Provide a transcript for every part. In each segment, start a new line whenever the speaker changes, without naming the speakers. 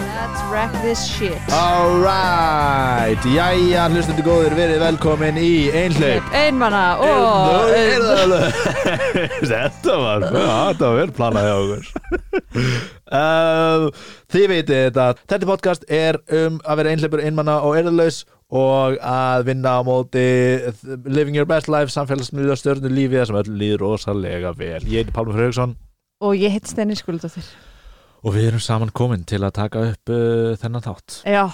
Let's wreck this shit
Ah. Alright, jæja, hlustundu góður, verið velkomin í Einhlaup
Einmanna og
Þetta var, já, þetta var vel planað hjá okkur um, Þið veitir þetta, þetta podcast er um að vera einhleipur, einmanna og erðalaus og að vinna á móti th- Living Your Best Life, samfélagsmiðla stjörnu lífi sem öll líður rosalega vel Ég er Pálmur Fröksson
Og ég hitt Stenni Skuldóttir
og við erum saman komin til að taka upp uh, þennan þátt
Já,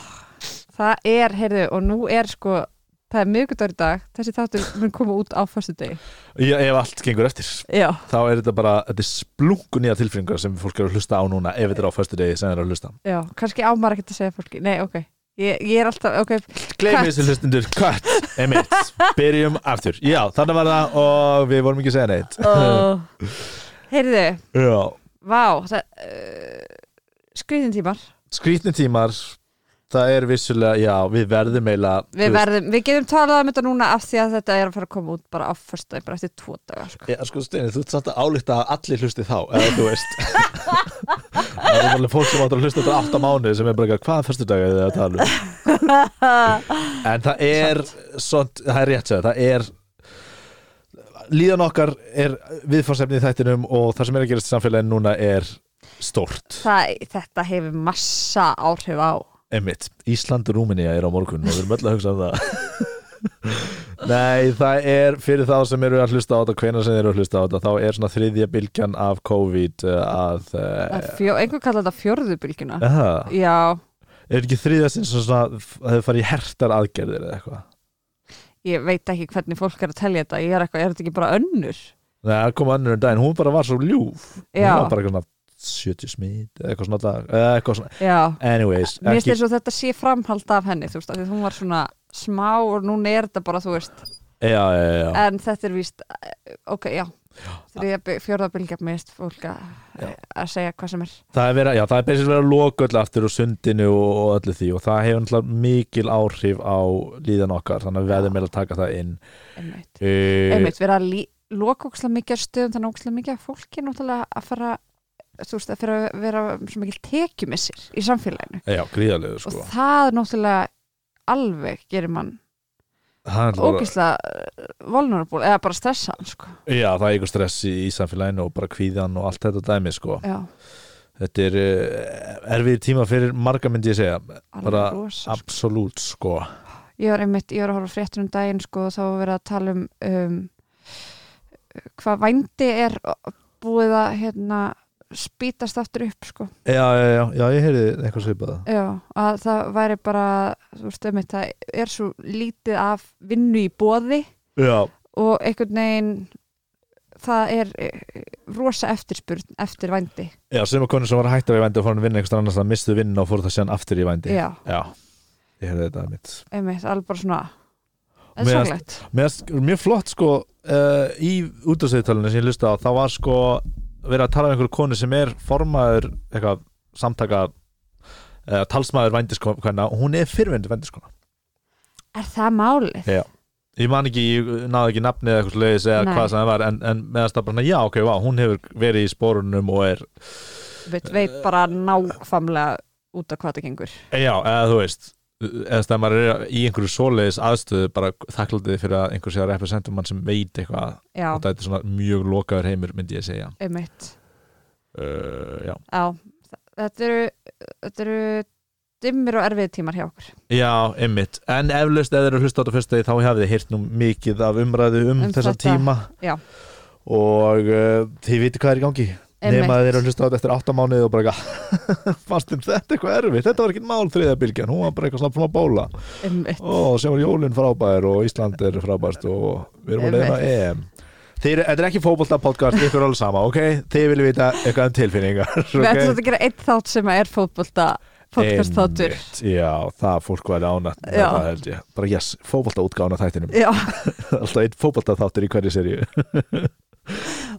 það er, heyrðu, og nú er sko Það er miðgudagur í dag, þessi þáttur mun koma út á fyrstu degi
Ég, Ef allt gengur eftir
Já,
þá er þetta bara, þetta er splungu nýja tilfinningar sem fólk eru að hlusta á núna ef þetta er á föstu degi sem þeir eru að hlusta
já, kannski ámar ekkert að segja fólki Nei, ok, ég, ég er alltaf, ok
Gleimið
Cut.
þessu hlustundur, cut, emitt Byrjum aftur, já, þannig var það og við vorum ekki að segja neitt
oh. Heyrðu,
Já,
vá það, uh, Skriðin tímar
skrítni tímar það er vissulega, já, við verðum eiginlega
Við
þú veist-
verðum, við getum talað um þetta núna af því að þetta er að fara að koma út bara á fyrstu degi, bara eftir tvo dagar sko.
Já, sko, Steini, þú ert samt að álíta að allir hlusti þá, eða þú veist Það er alveg fólk sem áttur að hlusta þetta átta mánuði sem er bara eitthvað, hvaða fyrstu dag er þið að tala um En það er, svont, það er rétt sér, það er Líðan okkar er viðfarsefni í þættinum og það sem er að gerast í samfélaginu núna er stórt
það, þetta hefur massa áhrif á
Emmitt, Ísland og Rúmenía er á morgun og við erum öll að hugsa um það Nei, það er fyrir þá sem eru að hlusta á þetta, hvenær sem eru að hlusta á þetta þá er svona þriðja bylgjan af COVID uh, að uh,
Það er fjó, einhver kallar þetta fjörðu bylgjuna
aha,
já,
er ekki þriðja sem svona að þau farið í hertar aðgerðir eða eitthvað
ég veit ekki hvernig fólk er að telja þetta ég er eitthvað, er þetta ekki bara önnur
Nei, það kom annur um daginn, hún bara var svo ljúf hún
Já.
var bara eitthvað svona 70 smít eða eitthvað svona, dag, eða eitthvað svona.
já,
anyways,
mér finnst
ekki,
eins og þetta sé framhald af henni, þú veist, af því að hún var svona smá og núna er þetta bara, þú veist
já, já, já, já.
en þetta er víst, eh, ok, já þriðja, by- fjörða bylgja mist fólk að
Já.
að segja hvað sem er
Það er verið, já, það er basically verið að loka öll aftur og sundinu og, og öllu því og það hefur náttúrulega mikil áhrif á líðan okkar, þannig að við verðum meira að taka það inn
einmitt,
uh,
einmitt við erum að lí- loka ókslega mikið af stöðum þannig að ókslega mikið af fólki er náttúrulega að fara þú veist, að fyrir að vera svo mikil tekjumissir í samfélaginu
Já, gríðarlegu sko
og það náttúrulega alveg gerir mann
Það er náttúrulega-
ógislega volnarból eða bara stressaðan sko.
Já, það er ykkur stress í, í samfélaginu og bara kvíðan og allt þetta dæmi sko
Já,
Þetta er uh, erfið tíma fyrir marga myndi ég segja
alveg
Bara
rosa.
Absolút sko
Ég var einmitt, ég var að horfa fréttur um daginn sko, og þá var verið að tala um, um hvað vændi er búið að hérna, spýtast aftur upp sko.
Já, já, já, já ég heyrði eitthvað svipað
Já, að það væri bara þú veist, einmitt, það er svo lítið af vinnu í boði
Já,
og einhvern veginn það er eh, rosa eftirspurn eftir vændi
já sem að konu sem var hægt að við vændi og fór hann að vinna eitthvað annars það mistu vinna og fór það síðan aftur í vændi
Já,
já ég heyrði þetta mitt
einmitt, alveg bara svona en
Meðan-
sorglegt
Mér finnst mjög flott sko uh, í útastæðitalinu sem ég hlusta á þá var sko verið að tala um einhverju konu sem er formaður eitthvað samtaka uh, talsmaður vændiskona og hún er fyrrvendu vændiskona
Er það málið?
ég man ekki, ég náði ekki nafni eða eitthvað leiðis eða
Nei.
hvað sem það var en, en meðan það bara, svona, já ok, vá, hún hefur verið í spórunum og er,
Veit, veit bara nákvæmlega út af hvað það gengur
eh, já, eða þú veist eða þess að maður er í einhverju svoleiðis aðstöðu bara þakkláttið fyrir að einhver sé að representum mann sem veit eitthvað
Já,
og þetta er svona mjög lokaður heimur myndi ég segja
einmitt
uh, já
Já, þa- þetta eru þetta eru dimmir og erfið tímar hjá okkur
Já, einmitt, en eflaust ef þeir eru að hlusta á þetta fyrst degi þá hafið þið heyrt nú mikið af umræðu um,
Um
þessa
þetta,
tíma
já.
og uh, þið viti hvað er í gangi nema að þeir eru að hlusta á þetta eftir átta mánuði og bara eitthvað, fannst þeim þetta eitthvað erfitt þetta var ekki mál þriðja bylgjan, hún var bara eitthvað svona frá bóla
einmitt.
og sem var jólinn frábær og Ísland er frábært og við erum að leiða EM Þeir, eru- Þetta er ekki fótbolta podcast, ykkur er alveg sama, ok? Þið viljum vita eitthvað um tilfinningar
Við ætlum
ok?
þetta að gera einn þátt sem er fótbolta podcast þáttur
Einmitt, Já, það fólk væri ánætt með
Já.
það held ég Bara yes, fótbolta útgána þættinum
Já,
Alltaf einn fótbolta þáttur í hverju seríu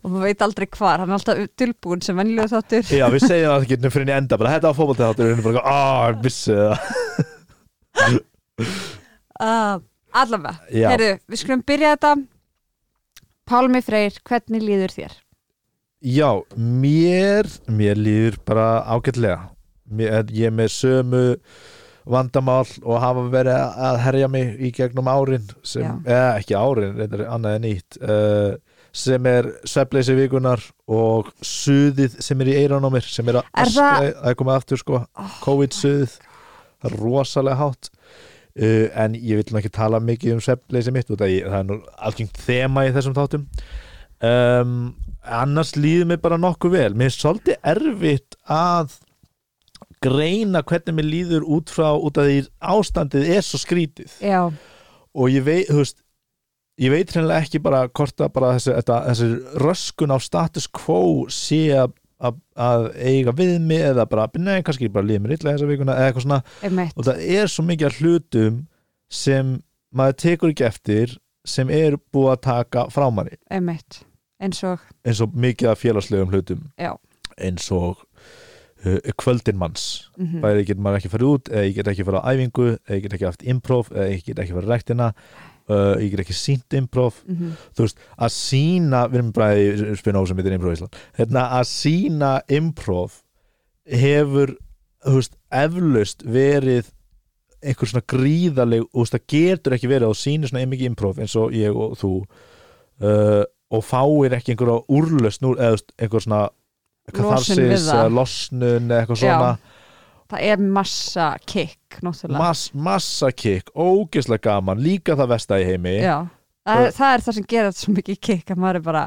og maður veit aldrei hvar, hann er alltaf tilbúin sem venjulega þáttur
Já, við segjum það ekki fyrir henni enda bara þetta var fótbolta þáttur og henni bara, á, ég vissi það
uh, Allavega,
Já.
heyrðu, við skulum byrja þetta Pálmi Freyr, hvernig líður þér?
Já, mér, mér líður bara ágætlega mér, er- ég er með sömu vandamál og hafa verið að herja mig í gegnum árin sem,
Já.
eða ekki árin, reyndar annað en nýtt uh, sem er svefleysi vikunar og suðið sem er í eiran á mér sem er að,
Er það- Oh
öskra- að koma aftur sko COVID-suðið það er rosalega hátt uh, en ég vil nú ekki tala mikið um svefnleysi mitt út af ég, það er nú algengt þema í þessum þáttum um, annars líður mér bara nokkuð vel mér er svolítið erfitt að greina hvernig mér líður út frá út af því ástandið er svo skrítið
já,
og ég veit, þú veist ég veit hreinlega ekki bara hvort að bara þessi, þetta, þessi röskun á status quo sé að, að, að eiga við mig eða bara, nei, kannski bara líður mér illa þessa vikuna eða eitthvað svona
einmitt
og það er svo mikið af hlutum sem maður tekur ekki eftir sem er búið að taka frá manni
einmitt, eins og
eins og mikið af félagslegum hlutum
Já.
eins og uh, kvöldin manns
mhm,
bæði getur maður ekki farið út eða ég get ekki farið á æfingu eða ég get ekki haft improv eða ég get ekki farið á rektina uh, ég get ekki sínt improv
mhm,
að sína, við erum bara í Spinoza mitt er improv í Ísland hérna, að sína improv hefur þú veist, eflaust verið einhver svona gríðaleg þú veist, það getur ekki verið að þú sýnir svona mikið improv eins og ég og þú uh, og fáir ekki einhverja úrlaust núr, eða þú veist, einhver svona
Losun við
katharsis,
það.
eða losnun eða eitthvað svona
Já. það er massa kick náttúrulega
Mass, massa kikk, ógeðslega gaman líka það vesta í heimi
já, það,
Og-
er, það er það sem gerir þetta svo mikið kick að maður er bara,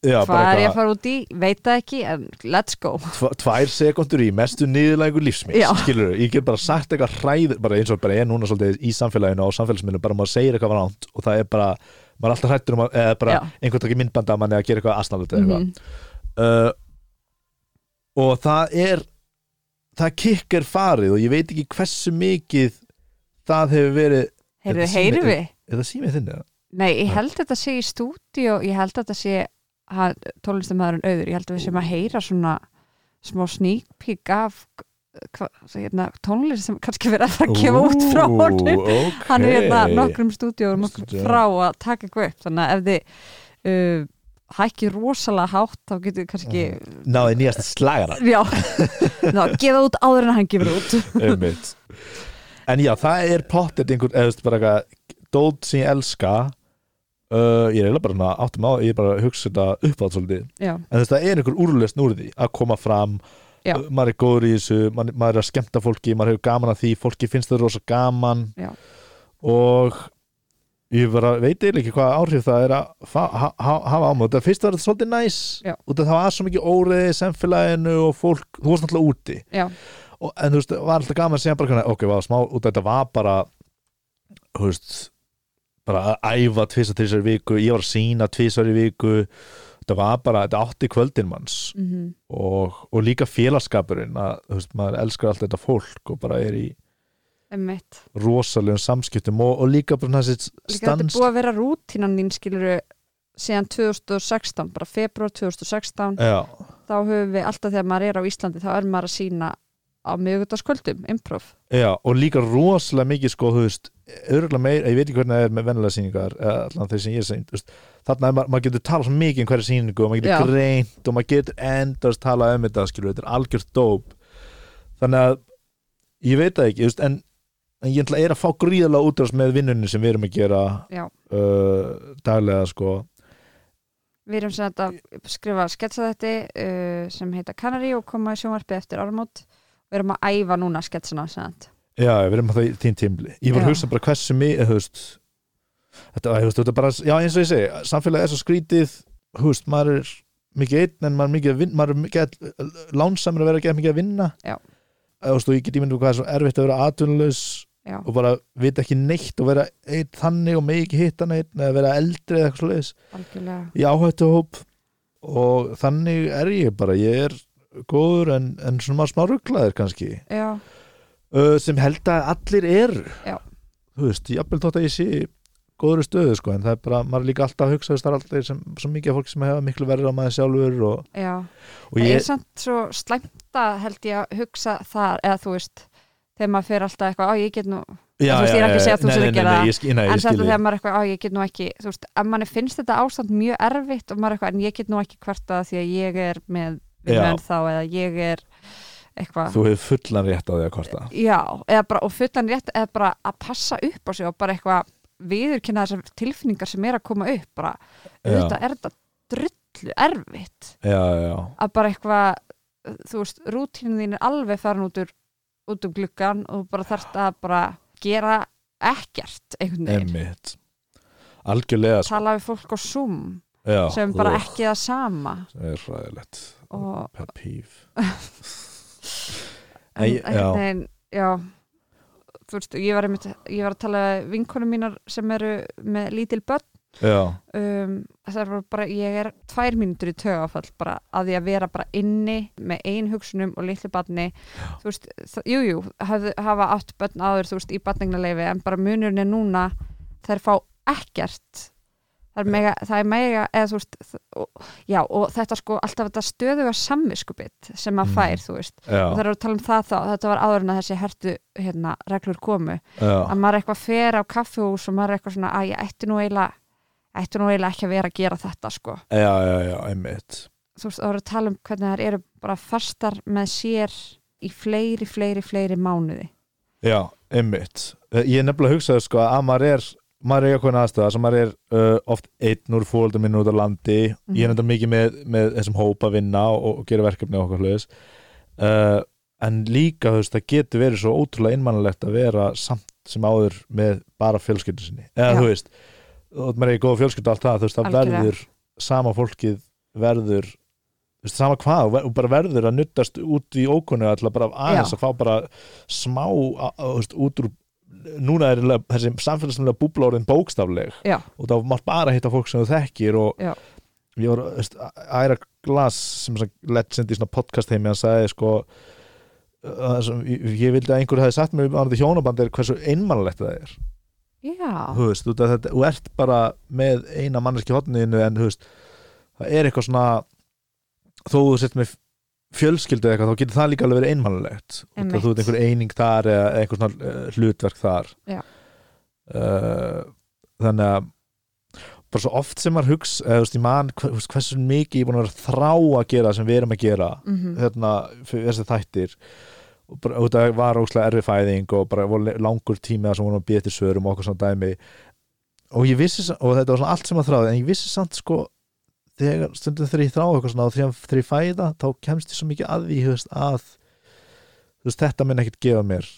Já,
hvað
bara
er ég að
eitthvað,
fara út í veit það ekki, en let's go
tv- tvær sekundur í mestu niðurlægu lífsmins
Já.
skilur, ég get bara sagt eitthvað hræður bara eins og bara ég er núna svolítið í samfélaginu og samfélagsmiðlum, bara maður segir eitthvað ránt og það er bara, maður er alltaf hrættur um að, eða bara
Já.
einhvern takk í myndbanda að manni að gera eitthvað asnalegt eða eitthvað
Mhm,
uh, og það er það kikk er farið og ég veit ekki hversu mikið það hefur verið,
heyrðu,
Þetta sýnir-
heyru við
er það símið þinni? eða?
nei, ég held að þetta sé í stúdíu ég held að þetta sé hann- tónlistamæðurinn auður, ég held að við séum að heyra svona smá sneak peek af hva, hérna, tónlist sem kannski verið að fara að gefa út frá
Ú,
honum
ókei.
hann er hérna nokkrum stúdíórum okkur
Stúdíóum.
frá að taka eitthvað upp þannig að ef þið uh, hækki rosalega hátt þá getur við kannski
náði nýjast slagara
já, ná, gefa út áður en hann gefur út
einmitt. en já, það er pottet einhvern, eða þú veist bara eitthvað dót sem ég elska uh, ég er eiginlega bara svona áttum á ég er bara að hugsa þetta upp á svolítið
já,
en þú veist, það er einhver úrlöst úr því að koma fram
Já.
uh, maður er góður í þessu, maður, maður er að skemmta fólki maður hefur gaman að því, fólki finnst það rosa gaman
Já.
og ég bara veit eiginlega ekki hvað áhrif það er að fa- ha- ha- hafa ámöð þetta fyrst var þetta svolítið næs
Já.
út af það var svo mikið óriði í samfélaginu og fólk, þú varst náttúrulega úti
já,
og, en þú veist, var alltaf gaman að segja bara hvernig, ok, var smá, út af þetta var bara þú veist bara að æfa tvisar, tvisar í viku ég var að sína tvisar í viku þetta var bara, þetta átti kvöldin manns
mm
og, og líka félagskapurinn að, þú veist, maður elskar allt þetta fólk og bara er í
emmitt
rosalegum samskiptum og, og líka bara þessi
líka þetta er
stans
búið að vera rútínan þín skiluru síðan 2016, bara februar 2016
já,
þá höfum við alltaf þegar maður er á Íslandi þá er maður að sína á miðugutaskvöldum, improv
já, og líka rosalega mikið sko, þú veist, örgulega meir ég veit ekki hvernig það er með vennilega sýningar eða allan þeir sem ég er sýnd, þú veist, þarna er maður, maður getur talað svo mikið um hverja sýningu og maður getur
Já.
greint og maður getur endast talað um þetta, skilur, þetta er algjört dóp þannig að ég veit það ekki, þú veist, en, en ég ætla- er að fá gríðalega útrás með vinnunni sem við erum að gera
Já.
uh, daglega, sko
Við erum sem þetta að skrifa sketsaðætti uh, sem heita Canary og koma í sjónvarpi eftir áramót. Við erum að æfa núna sketsana sem þetta.
Já, við erum að það í þín tímli Ég var að
Já.
hugsa bara hversu mig höfst, þetta, höfst, þetta er bara, já eins og ég segi samfélagið er svo skrítið höfst, maður er mikið einn en maður er mikið, að vin, maður er mikið lánsamur að vera ekki mikið að vinna
Já.
höfst, og ég get ímyndum hvað er svo erfitt að vera atvinnulegs
Já.
og bara vita ekki neitt og vera einn þannig og megi ekki hitta neitt eða vera eldri eða eitthvað svoleiðis
Algjörlega.
í áhættu hóp og þannig er ég bara ég er góður en, en svona maður smá rugglaðir kannski
Já,
uh, sem held að allir eru
Já.
þú veist, jafnvel þótt að ég sé í góðri stöðu sko, en það er bara, maður er líka alltaf að hugsa þú veist, það er allir sem, svo mikið af fólki sem hefa miklu verður á maður sjálfur og,
já.
og
Það er
ég,
samt svo slæmt að held ég að hugsa þar, eða þú veist, þegar maður fer alltaf eitthvað, á ég get nú,
já,
þú veist, ég er ekki að segja að þú
nei,
sért að
nei, nei,
gera
nei, ég skil- nei,
en
ég
þetta
skil
þegar
þig.
maður er eitthvað, á ég get nú ekki, þú veist, ef manni finnst þetta ástand mjög erfitt og maður er eitthvað, en ég get nú ekki hvartað því að ég er með
Já.
vinnan þá eða ég er eitthvað
þú hefur fullan rétt á því að kvarta
já, eða bara, og fullan rétt eða bara að passa upp á sig og bara eitthvað viðurkynna þessar tilfinningar sem er að koma upp bara,
Já.
auðvitað er þetta drullu erfitt
já, já,
að bara eitthvað þú veist, rútínin þín er alveg farin út úr, út úr gluggan og þú bara þarft að bara gera ekkert einhvern veginn,
emmitt algjörlega sko.
tala við fólk á Zoom
já,
sem bara
ugh,
ekki það sama
það er ræðilegt
og
pet peeve
en,
Nei, já.
einhvern veginn, já þú veist, ég var, einmitt, ég var að tala við vinkonum mínar sem eru með lítil börn
já,
um, það er bara, ég er tvær mínútur í tögafall bara að því að vera bara inni með einhugsunum og litlu barni þú veist, það- jú, jú, hafðu, hafa átt börn áður, þú veist, í barnegnaleifi en bara munurinn er núna, þær fá ekkert það er mega, það er mega eða, þú veist, þ- og, já, og þetta sko, alltaf þetta stöðuga samviskubit sem maður
Mm.
fær, þú veist og
já,
það eru að tala um það þá, þetta var áður en að þessi hertu hérna, reglur komu
já
að maður er eitthvað fer á kaffihús og maður er eitthvað svona að ég ætti nú eiginlega ætti nú eiginlega ekki að vera að gera þetta sko
já, já, já, einmitt
þú veist, það eru að tala um hvernig þær eru bara fastar með sér í fleiri, fleiri, fleiri mánuði
já, einmitt Eh, ég er nefnilega að hugsa sko að maður er maður er í eitthvað aðstæða sem maður er uh, oft einn úr fóldum minn út á landi
Mhm.
ég er nefnilega mikið með, með þessum hópa að vinna og, og gera verkefni og okkur hlutis uh, en líka þú veist það getur verið svo ótrúlega innmannlegt að vera samt sem áður með bara fjölskyldu sinni eða
Já.
þú veist, og maður er í góða fjölskyldu og allt það, þú veist það
Algjörlega.
verður sama fólkið verður þú veist, sama hvað, og ver- og bara verður að nuttast út í ókunnu alltaf bara aðeins
Já.
að fá bara smá að, að, þú veist, út úr núna er eiginlega þessi samfélagslega búbla orðin bókstafleg
Já.
og þá mátt bara hitta fólk sem þú þekkir og
Já.
ég var, veist, Æra Glass sem sem legend í svona podcast heimi hann sagði sko að sem, ég, ég vildi að einhver hefði sagt mér að þetta hjónaband er hversu einmannalegt það er
já,
þú veist, þú, þetta, þú ert bara með eina manneski hotninu en þú veist, það er eitthvað svona þó þú sett með fjölskyldu eða eitthvað, þá getur það líka alveg verið einmannlegt þú
Einmitt.
veist, þú ert einhver eining þar eða eitthvað svona eh, hlutverk þar
Já.
Eh, þannig að bara svo oft sem maður hugsa eða, þú veist, ég man, hva- þú veist, hversu mikið ég er búin að vera að þrá að gera sem við erum að gera
mhm,
hérna, fyrir þessi þættir og bara, og það var óslega erfi fæðing og bara voru langur tími þar sem vorum að býja til svörum og okkur svona dæmi og ég vissi, sa- og þetta var svona allt sem að þráði en ég vissi samt sko þegar stundum þegar ég þráði eitthvað svona og þegar þegar ég fæða þá kemst ég svo mikið að því þú veist, að þú veist, þetta minn ekkert gefa mér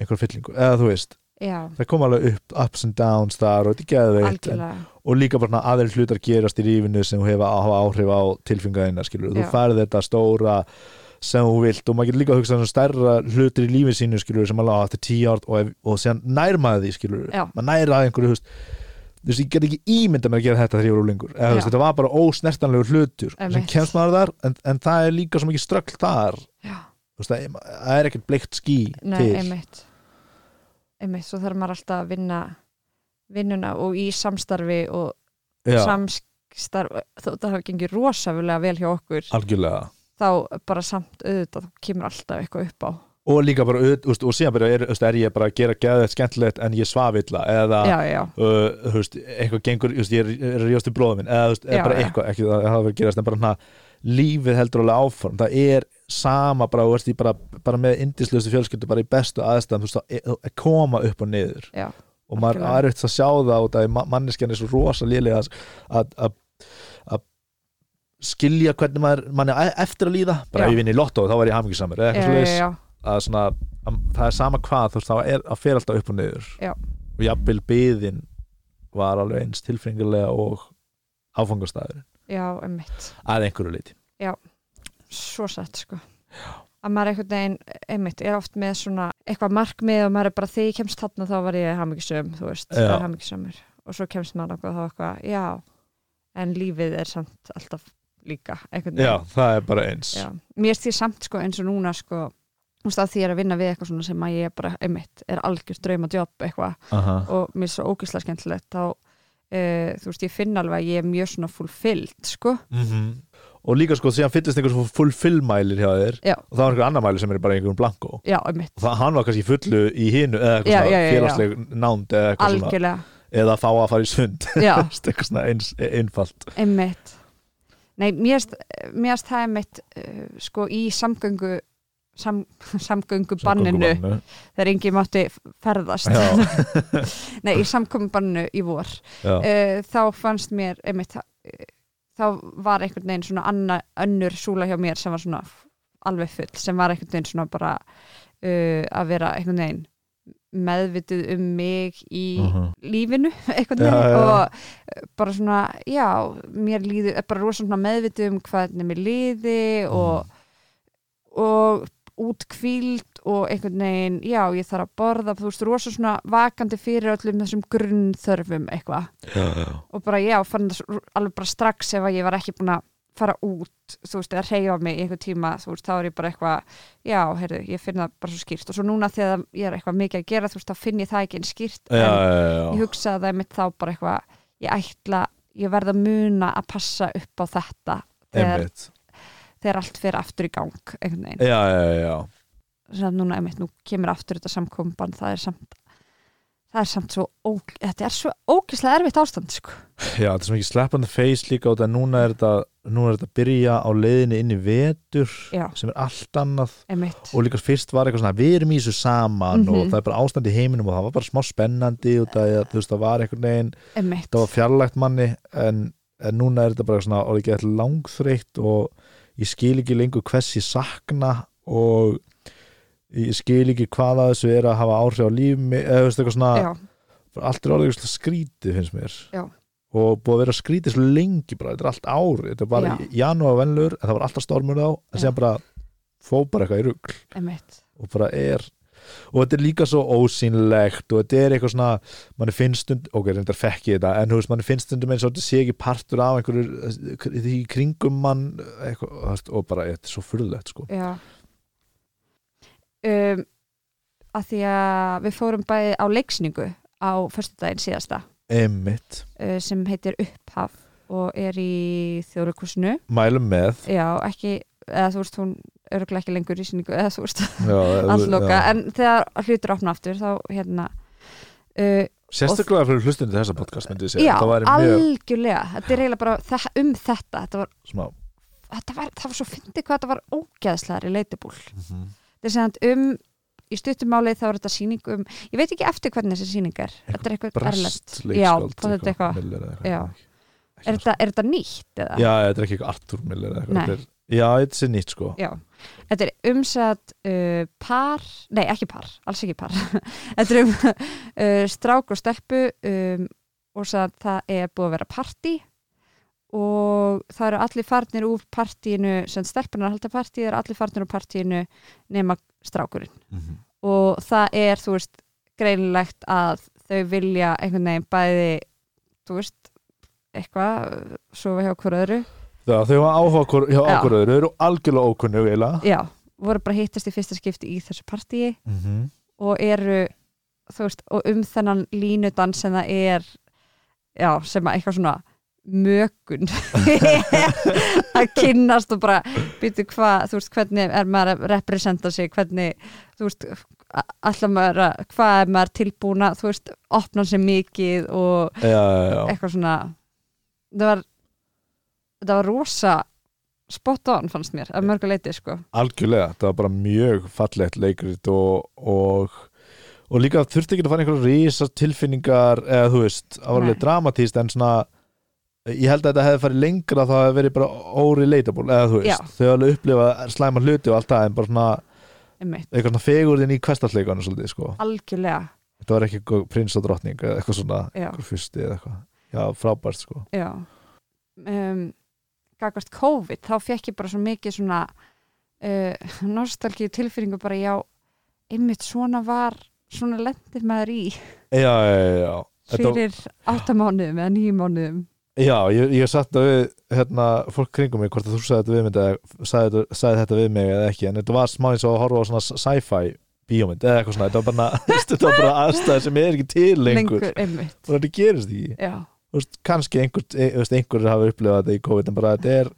einhver fyllingu, eða þú veist
já,
það kom alveg upp, ups and downs þar og þetta geði veitt en,
algjörlega
og líka bara svona aðrir hlutar gerast í lífinu sem þú hefa hafa áhrif á tilfingaðina skilur, þú
Já.
færð þetta stóra sem þú vilt og maður getur líka að hugsa um stærra hlutir í lífinu sínu skilur sem alveg eftir tíu árt og, ef- og séðan nærmaði því skilur
Já.
maður nærmaði einhverju þú veist, þú veist, ég get ekki ímynda með að gera þetta þegar ég var úlingur Eða, þú veist,
Já.
þetta var bara ósnertanlegur hlutur
Einmitt.
sem kemst maður þar en, en það er líka svo mikið ströggl þar
Já.
Þú veist, það er- það er ekkert bleikt ský
Nei,
til
einmitt einmitt, svo þarf maður alltaf að vinna vinnuna og í samstarfi og
Já,
samstarfi þó það hafa gengið rosafulega vel hjá okkur
algjörlega
þá bara samt auðvitað þú kemur alltaf eitthvað upp á
og líka bara, auð- úst, og síðan bara er, úst, er ég bara að gera geðið skemmtilegt en ég svaf illa eða
já, já,
uh, húst, eitthvað gengur, húst, ég er, er að ríðast í bróðum minn eða húst,
Já,
eða bara
já.
eitthvað, ekki það hafa verið að gerast en bara hana, lífið heldur alveg áform það er sama bara, þú veist, ég bara, bara með indislustu fjölskyldu, bara í bestu aðstæðan þú veist, að- að koma upp og niður
Já,
og maður
algjörlega.
er eftir að sjá það og það er manneskjan er svo rosa lélega að, að, að, að skilja hvernig maður, mann er eftir að líða bara
Já.
ef ég vinn í lottó, þá var ég hamingisamur eða
já,
eitthvað
já,
svoleiðis
já,
að svona, að, það er sama hvað þú veist, það er að fer alltaf upp og niður
Já.
og jafnvel byðin var alveg eins tilfengilega og áfangastæður
já, emmitt
að einhverju leiti
svo satt sko að maður einhvern veginn, einmitt, er oft með svona eitthvað markmið og maður er bara þegar ég kemst þarna þá var ég hamingisum, þú veist
Já.
það er hamingisamur og svo kemst maður okkur þá eitthvað, já, en lífið er samt alltaf líka einhvern
já,
veginn
það er bara eins
Já. mér er því samt sko eins og núna sko þú veist að því ég er að vinna við eitthvað svona sem að ég er bara, einmitt, er algjörst drauma eitthvað
Aha.
og mér er svo ógislega skemmtilegt þá, uh, þú veist, ég finn alveg að ég er mjög svona fulfilled, sko
Mhm. og líka sko, síðan fyllist einhver svo full fillmælir hjá þér
Já.
og það var einhver annar mælir sem er bara einhverjum blanko og
já, einmitt,
það, hann var kannski fullu í hinu eða eitthvað
Já,
svona
já, já, já.
félagsleg nánd eða eitthvað svona,
algjörlega
eða að fá að fara í sund
já,
eitthvað svona eins, einfalt
einmitt Nei, mér erst það einmitt uh, sko í eh, samgöngu sam, samgöngu banninu
Samgöngubanninu.
þegar engin mátti ferðast
Já,
nei, í samkommu banninu í vor
já,
uh, þá fannst mér einmitt, það- eh, þá var einhvern veginn svona anna, önnur súla hjá mér sem var svona f- alveg full, sem var einhvern veginn svona bara uh, að vera einhvern veginn meðvitið um mig í
Mhm.
lífinu einhvern
Já,
veginn
já, já.
og eh, bara svona, já, mér líður er bara rosa svona meðvitið um hvernig mér
Mhm.
liði og, og útkvíld og einhvern veginn, já, ég þarf að borða þú veist, rosa svona vakandi fyrir öllum þessum grunnþörfum eitthvað
já, já.
og bara já, fann það svo- alveg bara strax ef að ég var ekki búin að fara út þú veist, eða reyfa mig í einhver tíma þú veist, þá er ég bara eitthvað, já, heyrðu ég finn það bara svo skýrt og svo núna þegar ég er eitthvað mikið að gera, þú veist, þá finn ég það ekki eins skýrt
já,
en
já, já.
ég hugsaði það mitt þá bara eitthvað, ég ætla ég verð að muna að passa upp á þetta þegar,
Einmitt.
þegar allt fer aftur í gang einhvern veginn,
Já, já, já, já.
sem að núna einmitt, nú kemur aftur þetta samkomban, það er samt það er samt svo, ó, þetta er svo ógislega erfitt ástand, sko
Já, þetta er svo mikið slap on the face líka og þetta núna er þetta, núna er þetta að byrja á leiðinni inn í vetur
Já.
sem er allt annað
einmitt,
og líka fyrst var eitthvað svona við erum í þessu saman
Mhm.
og það er bara ástand í heiminum og það var bara smá spennandi og það, þú veist, það var einhvern veginn
einmitt
það var fjarlægt manni en, en núna er þetta bara svona orðið gett langþreytt og ég skil ekki lengur hvers ég sakna og ég skil ekki hvað að þessu er að hafa áhrif á líf mig, eða þú veist eitthvað svona
já,
bara allt er orðið eitthvað skrítið finnst mér
Já.
og búið að vera skrítið svo lengi bara, þetta er allt ári, þetta er bara
Já.
í janúar venlur en það var alltaf stormur þá,
Já.
en síðan bara fó bara eitthvað í rugl
einmitt
og bara er og þetta er líka svo ósýnlegt og þetta er eitthvað svona, mann finnst stund ok, reyndar fekk ég þetta, en þú veist, mann finnst stundum eins og þetta sé ekki partur af einhverju því í kringum mann eitthvað, þú veist, og bara, þetta er svo furðulegt sko.
Já um, að Því að við fórum bæði á leiksningu á föstudaginn síðasta
emmitt,
uh, sem heitir Upphaf og er í þjóðleikusinu
mælum með
Já, ekki, eða þú veist hún örgulega ekki lengur í síningu eða þú veist
já,
allloka,
já.
en þegar hlutur opna aftur þá hérna uh,
sérstaklega fyrir hlustunni þessa podcast myndi ég segja,
Já,
það væri mjög
algjörlega þetta er eiginlega bara þe um þetta þetta var,
svona,
þetta var, það var svo fyndið hvað þetta var ógeðslegar í leitubúl
mhm.
þetta er segant um í stuttumáli þá er þetta sýning um ég veit ekki eftir hvernig þessi sýning er þetta er eitthvað erlend
brest
já,
leikskáld
það er þetta eitthvað
Miller eða
Já.
eitthvað. Ekki
er
Arthur.
þetta, er þetta nýtt eða?
já, þetta er ekki eitthvað Artur Miller eða eitthvað
Nei.
þetta er- já, þetta er nýtt sko
Já. þetta er umsett uh, par, nei ekki par, alls ekki par þetta er um uh, strák og stelpu um, og svo að það er búið að vera partí og það eru allir farnir úr partíinu sem stelpunar halda partí, það eru allir farnir úr partíinu nema strákurinn
Mhm.
og það er, þú veist, greinlegt að þau vilja einhvern veginn bæði, þú veist, eitthvað, sofa hjá hver öðru.
Já, þau var áhuga okkur, hjá
Já.
okkur öðru, þau eru algjörlega ókunnug eiginlega.
Já, voru bara að hittast í fyrsta skipti í þessu partíi
Mm -hmm.
Mhm. og eru, þú veist, og um þennan línudan sem það er, já, sem að eitthvað svona mökun að kynnast og bara býtu hvað, þú veist, hvernig er maður að representa sig, hvernig þú veist, allar maður að hvað er maður tilbúna, þú veist opna sér mikið og
Já, já, já.
eitthvað svona það var þetta var rosa spot on fannst mér að mörgu leiti sko
algjörlega, það var bara mjög fallegt leikrit og, og og líka þurfti ekki að fara einhverja rísa tilfinningar eða þú veist, það var
Nei.
alveg dramatíst en svona, ég held að þetta hefði farið lengra þá hefði verið bara órelatable eða þú veist,
Já.
þau alveg upplifa slæma hluti og allt það en bara svona,
einmitt,
eitthvað svona fegurðin í kvestarleikanum svolítið, sko,
algjörlega
þetta var ekki eitthvað prins og drottning eða eitthvað svona,
Já.
eitthvað fyrsti eða eitthvað, já, frábært sko
já um, gagast COVID þá fekk ég bara svo mikið svona uh, nostalgíu tilfinningu bara já, einmitt svona var svona lendir maður í
já, já, já, já. Þetta-
fyrir áttamánuðum eða nýjumánuðum
Já, ég, ég satt að við hérna, fólk kringum mig hvort að þú sagði þetta við mig eða sagði, þetta- sagði þetta við mig eða ekki en þetta var smá eins og að horfa á svona sci-fi bíómynd eða eitthvað svona, þetta var bara, þetta var bara aðstæð sem er ekki til lengur,
einmitt
og þetta gerist ekki
já,
Þú veist, kannski einhver, e, þú veist, einhver hafa upplifað þetta í COVID en bara þetta er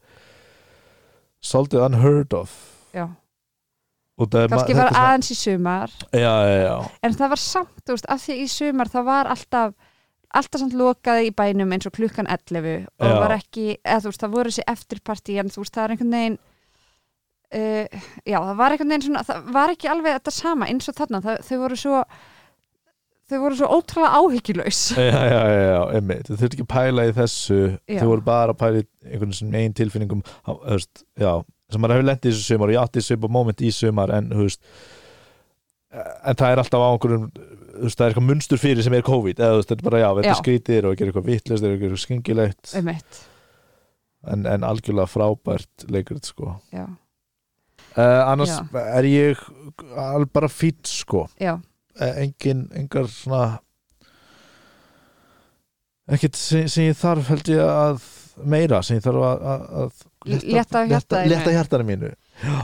svolítið unheard of
já.
og það er
kannski
ma-
var
þetta er
aðeins í sumar
svona, já, já, já,
en það var samt, þú veist, af því í sumar þá var alltaf, alltaf samt lokaði í bænum eins og klukkan 11 og
Já.
var ekki, eða þú veist, það voru þessi eftirpartí en þú veist, það er einhvern veginn uh, já, það var einhvern veginn svona það var ekki alveg þetta sama eins og þarna það, þau voru svo þau voru svo ótrúlega áhyggjulegs
já, já, já, já, einmitt, þau þurftu ekki að pæla í þessu
Já.
þau voru bara að pæla í einhvern sem einn tilfinningum á- þú veist, já, sem maður hefur lendið í þessu sumar og ég átti svipa moment í sumar en, þú veist, en það er alltaf á einhverjum þú veist, það er eitthvað munstur fyrir sem er COVID eða þú veist, þetta er bara, já, þetta
Já.
er skrítir og gerir eitthvað vitlust, þeir eru eitthvað skingilegt
einmitt,
en, en algjörlega frábært leikurinn, sko
já,
uh, annars
Já.
er ég al- bara fýtt, sko
já
eh, engin, engar svona ekkert sem, sem ég þarf held ég að meira sem ég þarf að, að, að
L- létta á
létta,
hjartaðinu.
létta hjartanu mínu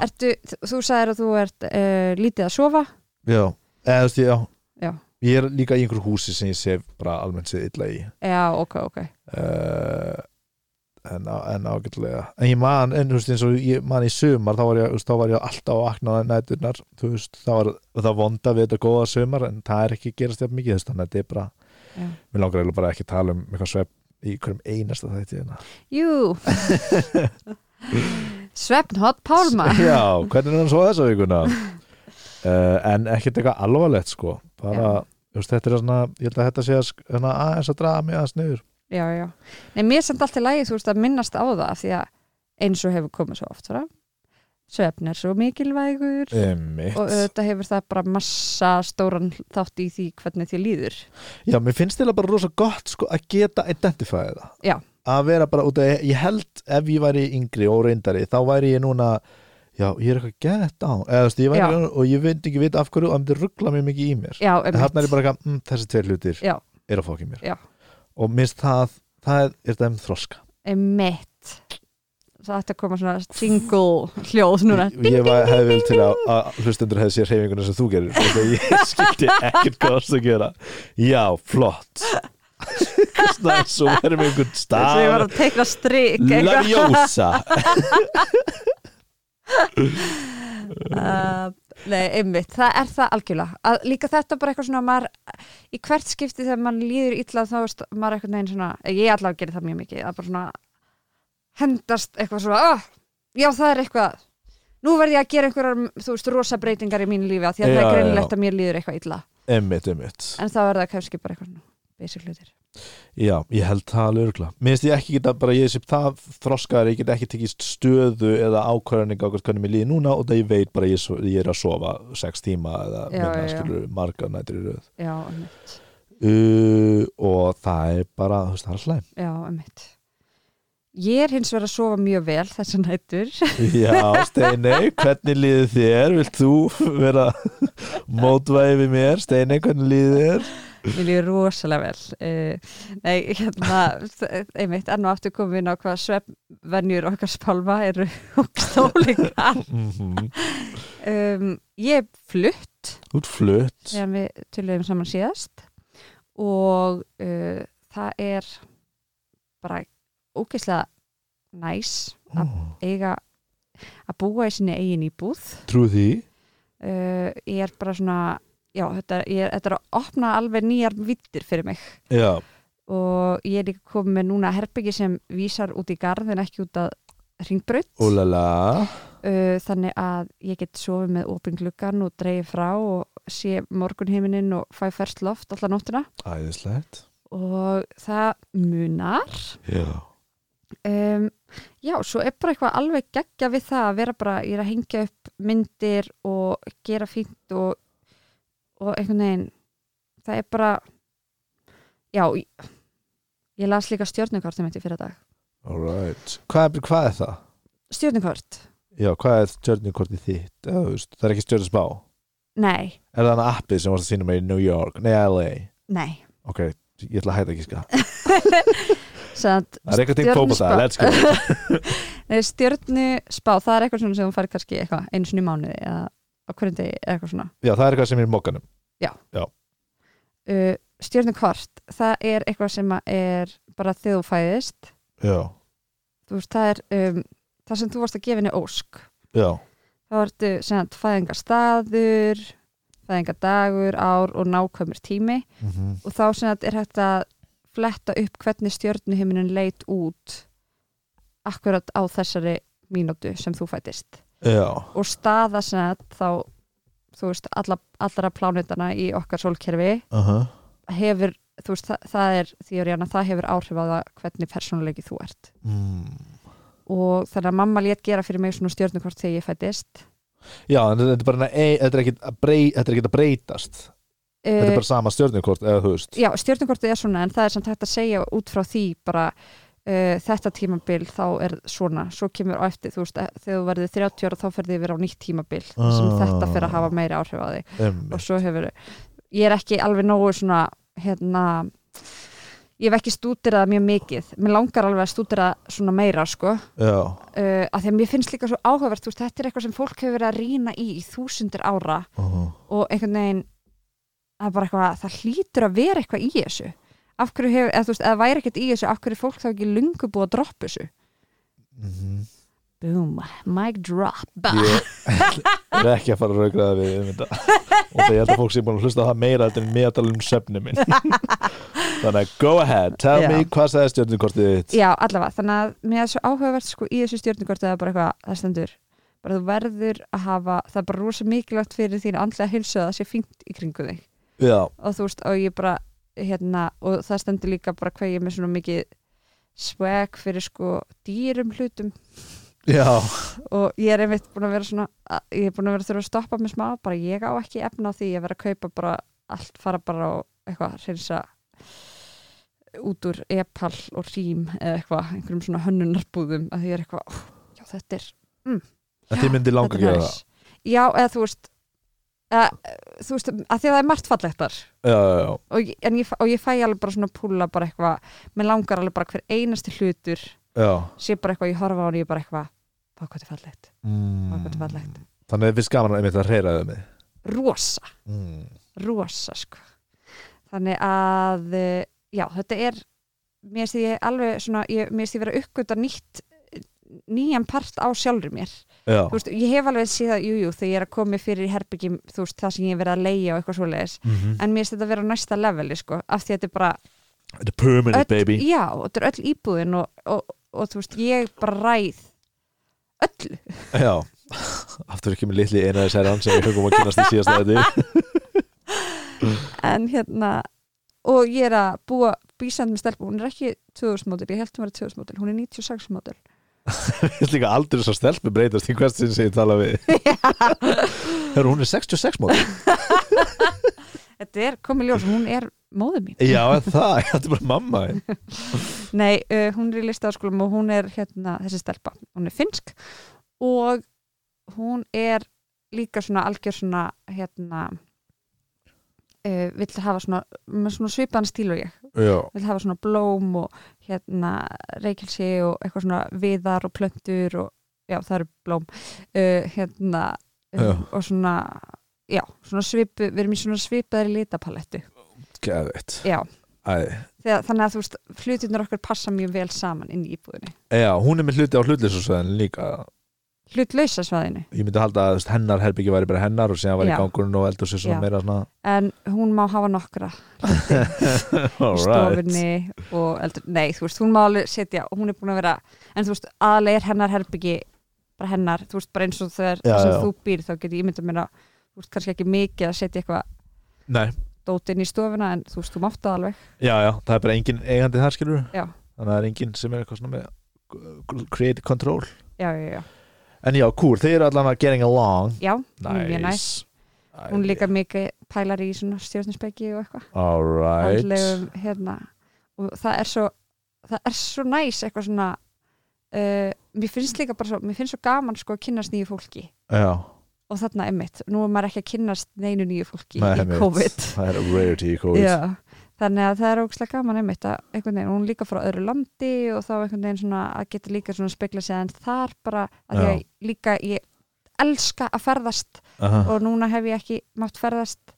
Ertu, þú sagðir að þú ert uh, lítið að sofa
já, eða þú veist ég, já
Já.
ég er líka í einhverju húsi sem ég sef bara almennt séð illa í
já, ok, ok
uh, en, á- en ágætlega en ég man, en þú veist eins og ég man í sumar þá var ég, þú veist, þá var ég alltaf að akna næturnar, þú veist, það var það vonda við þetta góða sumar en það er ekki að gerast jafn mikið þess, þannig að þetta er bara
Já.
mér langar eiginlega bara ekki að tala um eitthvað svepp í hverjum einasta þætti hérna.
Jú Svefn hot pálma
Já, hvernig er hann svo þessa vikuna uh, en ekkert eitthvað alvarlegt sko, bara
Já.
þú veist, þetta er svona, ég held að þetta sé að sk- svona aðeins að draga mig aðeins niður
Já, já Nei, mér er samt allt í lagi, þú veist að minnast á það af því að eins og hefur komið svo oft fram Svefn er svo mikilvægur
Einmitt.
og auðvitað hefur það bara massa stóran þátt í því hvernig því líður
Já, mér finnst þetta bara rosa gott sko, að geta identifæði það
Já.
að vera bara út að ég held ef ég væri yngri og reyndari þá væri ég núna já, ég er eitthvað gett á eða, þú veist, ég væri, og ég veit ekki veit af hverju og það myndi ruggla mér mikið í mér
Já,
en þarna er
einmitt,
ég bara eitthvað, mm, þessi tveir hlutir
Já.
eru að fókja mér
Já.
og minnst það, það er, er það um þroska
einmitt Það ætti að koma svona single hljóð núna
ég, ég var, hefði vel til að, að hlustendur hefði sér heiminguna sem þú gerir og það ég skildi ekkert hvað það að gera já, flott snæs og verðum einhvern
Svo ég var
stað
að teikna strik eitthvað.
Ljósa
Uh, nei, einmitt, það er það algjörlega að líka þetta bara eitthvað svona maður, í hvert skipti þegar maður líður illa þá veist maður eitthvað neginn svona ég allavega gerir það mjög mikið, að bara svona hendast eitthvað svona oh, já það er eitthvað nú verð ég að gera einhverjar, þú veist, rosa breytingar í mínu lífi af því að
Já,
það er
já,
greinilegt að mér líður eitthvað illa
Einmitt, einmitt
en þá er það kannski bara eitthvað svona basic hlutir
Já, ég held það alveg örgla Mér finnst ég ekki geta bara, ég sé það þroskaðar ég get ekki tekið stöðu eða ákvarðning á hvernig mér líði núna og það ég veit bara ég, svo- ég er að sofa sex tíma eða
Já,
minna
já, já.
skilur margar nættir í röð
já, einmitt,
uh, og það er bara, þú veist, það er slæm
já, einmitt ég er hins vegar að sofa mjög vel þessar nættur
Já, Steinei, hvernig líði þér? Vilt þú vera mótvæði við mér? Steinei, hvernig líði þér?
Mér líður rosalega vel uh, Nei, hérna einmitt, enn og aftur komum við inn á hvað svefnvenjur okkar spálma eru hugstólika
Mm -hmm.
um, Ég er flutt
Út flutt
þegar við töluðum saman síðast og uh, það er bara ógeðslega næs að
Ó,
eiga að búa í sinni eigin íbúð
Trú því
uh, Ég er bara svona Já, þetta, ég, þetta er að opna alveg nýjar vittir fyrir mig
Já,
og ég er líka komið með núna herbyggi sem vísar út í garð en ekki út að ringbraut uh,
úlala
þannig að ég get sofið með opin gluggan og dreigið frá og sé morgunheiminin og fæ fært loft alla nóttina
Æðislegt
og það munar
Já
um, já, svo er bara eitthvað alveg geggja við það að vera bara, ég er að hengja upp myndir og gera fínt og, og einhvern veginn það er bara já, ég, ég las líka stjórnukortum þetta fyrir dag
Alright. Hvað, er- hvað er það?
stjórnukort
Já, hvað er stjörnukortið þitt? Eða, þú veist, það er ekki stjörnusbá.
nei,
Er það hann appið sem varst að sýna mig í New York? Nei, LA.
nei
Ok, ég ætla að hætta ekki ska.
Satt,
Það er eitthvað til fókbóta,
Stjörnuspá.
let's go.
nei, stjörnuspá, það er eitthvað svona sem hún fær kannski eitthvað einu sinni í mánuði eða á hverjum degi eða eitthvað svona
Já, það er eitthvað sem er í mokkanum.
uh, stjörnukort, það er eitthvað sem að er bara þegar þú fæðist
Já,
þú veist, það er um, það sem þú varst að gefa henni ósk
já,
þá ertu sem sagt fæðingastaður fæðingadagur, ár og nákvæmur tími
mm
og þá sem sagt er hægt að fletta upp hvernig stjörnuhiminin leit út akkurat á þessari mínútu sem þú fættist
já,
og staða sem sagt þá þú veist, alla, allra plánutana í okkar sólkerfi
aha
hefur, þú veist, það, það er því að það hefur áhrif á það hvernig persónuleiki þú ert
mm.
og þannig að mamma létt gera fyrir mig svona stjörnukort þegar ég fættist
já, en þetta er bara e, þetta er ekkit að brey- þetta er ekkit að breytast þetta er bara sama stjörnukort eða þú veist
já, stjörnukortið er svona en það er samt hægt að segja út frá því bara uh, þetta tímabil þá er svona svo kemur á eftir, þú veist, eh, þegar þú verður 30 ára þá ferði yfir á nýtt tímabil sem
Ah.
þetta fer að hafa meiri áhrif á þig
um,
og svo hefur, ég er ekki alveg nógu svona, hérna ég hef ekki stútirað mjög mikið mér langar alveg að stútira svona meira sko, uh,
já,
að því að mér finnst líka svo áhugavert, þú veist, þetta er eitthvað sem fólk hefur verið að rýna í í þúsundir ára
aha,
og einhvern veginn það er bara eitthvað, það hlýtur að vera eitthvað í þessu af hverju hefur, eða þú veist, eða væri ekkert í þessu af hverju er fólk þá ekki lungu búið að droppa þessu
mhm
boom, mic drop
ég er ekki að fara að raugraða við um þetta og það ég held að fólk sé búin að hlusta á það meira þetta en mér að tala um söfni minn þannig að go ahead, tell
Já.
me hvað sagði stjórnukortið þitt
já, allavega, þannig að mér er svo áhugavert sko í þessu stjórnugort eða bara eitthvað, það stendur bara þú verður að hafa, það er bara rosa mikilvægt fyrir þín andlega heilsu að það sé fínt í kringu þig
já,
og þú veist, og ég bara hérna, og það stendur líka bara hvað ég er með svona mikið swag fyrir sko dýrum hlutum
já,
og ég er einmitt búin að vera svona að- ég er búin að vera að þurfa að stoppa mig smá bara ég á ekki efna á því ég vera að kaupa bara allt fara bara og eitthvað reynsa út úr epal og rím eða eitthvað, einhverjum svona hönnunarbúðum að því ég er eitthvað, ó, já þetta er
en þið myndi langa
þetta
að
er
gera
næs. Já, eða þú veist eða, þú veist, að því að það er margt fallegt þar
það já, já, já,
og, ég- en ég, fæ- og ég fæ alveg bara svona púla bara eitthvað, mér langar alveg bara hver einasti hlutur,
já.
sé bara eitthvað ég horfa á hann og ég bara eitthvað, hvað hvað þetta er fallegt hvað hvað þetta er fallegt,
Mm. þannig að við skaman einmitt að reyra þau mig
rosa
mm.
rosa sko þannig að eh, já þetta er mér sé ég alveg svona ég, mér sé ég vera uppgöta nýtt nýjan part á sjálfur mér þú
já,
veist, ég hef alveg séð að jú, jú, þegar ég er að koma mér fyrir í herbyggjum þú veist, það sem ég hef verið að leigja og eitthvað svoleiðis
Mhm.
en mér sé þetta vera á næsta leveli sko af því að þetta er bara,
þetta er permanent baby
já, þetta er öll íbúðin og, og, og, þú veist, ég bara ræð öllu
já, aftur ekki með litli einaði sérjan sem við hugum að kynast í síðasta þetta
en hérna og ég er að búa bísand með stelpu, hún er ekki 2000 mótil, ég held hún verið 2000 mótil, hún er 96 mótil
ég held líka aldrei svo stelpu breytast í hvert sinn sem ég tala við Heru, hún er 66 móti
Þetta er komið ljós, hún er móður mín
Já, en það, þetta er bara mamma þín.
Nei, uh, hún er í listaðarskólum og hún er hérna, þessi stelpa, hún er finsk og hún er líka svona algjör svona hérna uh, vill hafa svona, með svona svipaðan stíl og ég,
Já,
vill hafa svona blóm og hérna reykjelsi og eitthvað svona viðar og plöntur og já, það eru blóm uh, hérna
Já.
um, og svona, já, svona svipu við erum í svona svipaðari litapalettu
geðvitt
Já.
Æ,
þegar, þannig að þú veist, hlutirnir okkar passa mjög vel saman inn í íbúðinni
Já, hún er með hluti á hlutlisúsvæðin líka
hlutlausa svæðinu,
Ég myndi halda að þú veist, hennar herbyggi væri bara hennar og síðan væri
Já.
gangurinn og eldur sér svona
Já.
meira svona
en hún má hafa nokkra í
Alright.
stofinni og eldur, nei, þú veist, hún má alveg setja og hún er búin að vera, en þú veist, aðlega er hennar herbyggi, bara hennar þú veist, bara eins og þegar
Já,
já, sem
já.
þú býr þá get ég myndað mér að, þú veist, kannski ekki mikið að setja eitthvað
Nei,
dót inn í stofuna, en þú veist, þú mátt það alveg
já, já, það er bara engin eigandi þar skilur
Já.
Þannig að það er engin sem er eitthvað svona með create control
já, já, já,
En já, cool, þeir eru allan að getting along
já, hún er mjög næs
Æ,
Mm, hún líka mikið pælar í svona stjórninsbeggi og eitthvað
Alright
andlegum hérna og það er svo það er svo næs eitthvað svona uh, mér finnst líka bara svo, mér finnst svo gaman sko að kynnast nýju fólki
Já,
og þarna emmitt, nú er maður ekki að kynnast neinu nýju fólki
Nei,
í
einmitt.
COVID,
það er rarity í COVID
Já, þannig að það er ógæslega gaman emmitt að einhvern veginn, hún er líka frá öðru landi og þá einhvern veginn svona að geta líka svona spekla sig en þar bara að
Já.
ég líka, ég elska að ferðast
Aha.
og núna hef ég ekki mátt ferðast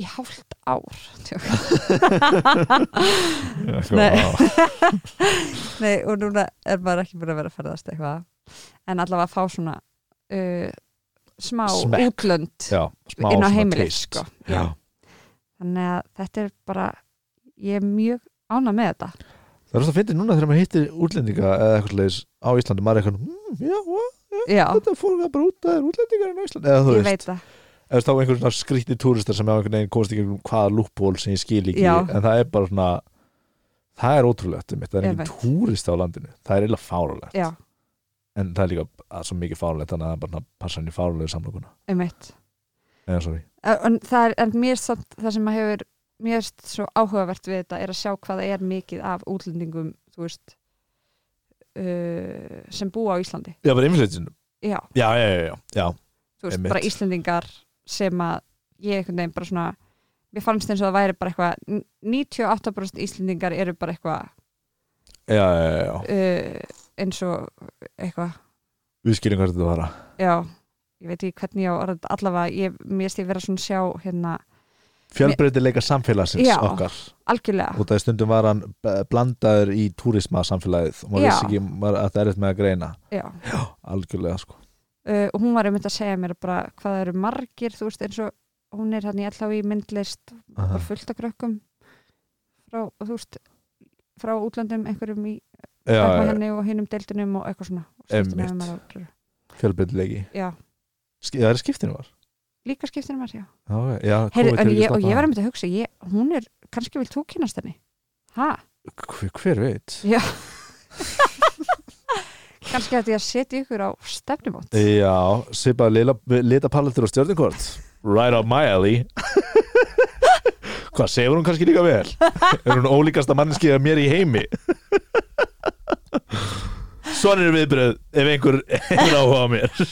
í hálft ár tjók Nei.
Vá.
Nei, og núna er maður ekki búin að vera að ferðast eitthvað en allavega að fá svona uh, smá
Smekk.
útlönd
já, smá
inn á
svona
heimilið,
taste.
sko.
já.
þannig að þetta er bara ég er mjög ánað með þetta
það er alltaf að fyndi núna þegar maður hittir útlendinga eða eitthvað leis á Íslandi maður er eitthvað, mm, já, hva?
já,
þetta fór að brúta þér útlendingar í Ísland eða þú
ég
veist,
veit það
eða þú veist, þá einhver svona skrýtti túristar sem á einhvern veginn komast ekki um hvaða lúpból sem ég skil ekki,
Já.
en það er bara svona það er ótrúlegt einmitt, það er
Einmitt.
engin túrist á landinu það er illa fárulegt,
já,
en það er líka að, svo mikið fárulegt, þannig að það er bara svona passa hann í fárulegu samlokuna,
um eitt
eða sorry
en, það er, en mér samt, það sem að hefur mér erst svo áhugavert við þetta er að sjá hvað það er mikið af útlendingum þú veist uh, sem búa á Íslandi
Já, bara einflýtsin,
já,
já, já, já, já, já.
þú veist,
Einmitt.
bara Íslendingar sem að ég einhvern veginn bara svona mér fannst eins og það væri bara eitthvað n- 98% Íslendingar eru bara eitthvað
Já, já, já, já,
uh, eins og eitthvað,
við skiljum hvað þetta var að
já ég veit ekki hvernig ég á orðið þetta, allavega ég, mér erst ég vera svona að sjá hérna
fjölbreytileika samfélagsins
Já.
okkar
algjörlega,
og það stundum var hann eh, blandaður í túrisma samfélagið og maður
Já.
vissi ekki maður, að það er eitthvað með að greina
já
algjörlega sko
uh, og hún var einmitt að segja mér bara hvað það eru margir, þú veist, eins og hún er hann í allá í myndlist
Aha.
og fullt af krökkum frá, þú veist, frá útlöndum einhverjum í
já,
Dagmar
já,
henni og hinum deildunum og eitthvað svona Og skiptin
Einmitt.
hefur maður á öllur.
fjölbreytileiki
Já,
Ski- það er skiptinu var
líka um skiptinu maður, já
Já, ok, já,
Heyru,
COVID
en
hefur
ég,
ekki
og ég var um-
stoppað
einmitt að hugsa ég, hún er, kannski vil þú kynast henni ha,
það. hver, hver veit
Já. kannski ætti ég að setja ykkur á stefnumót
já, svipað lila, litapaletur og stjörningkort right up my alley hvað, sefur hún kannski líka vel er hún ólíkasta manneskið að mér í heimi svona eru viðbröð ef einhver hefur áhuga á mér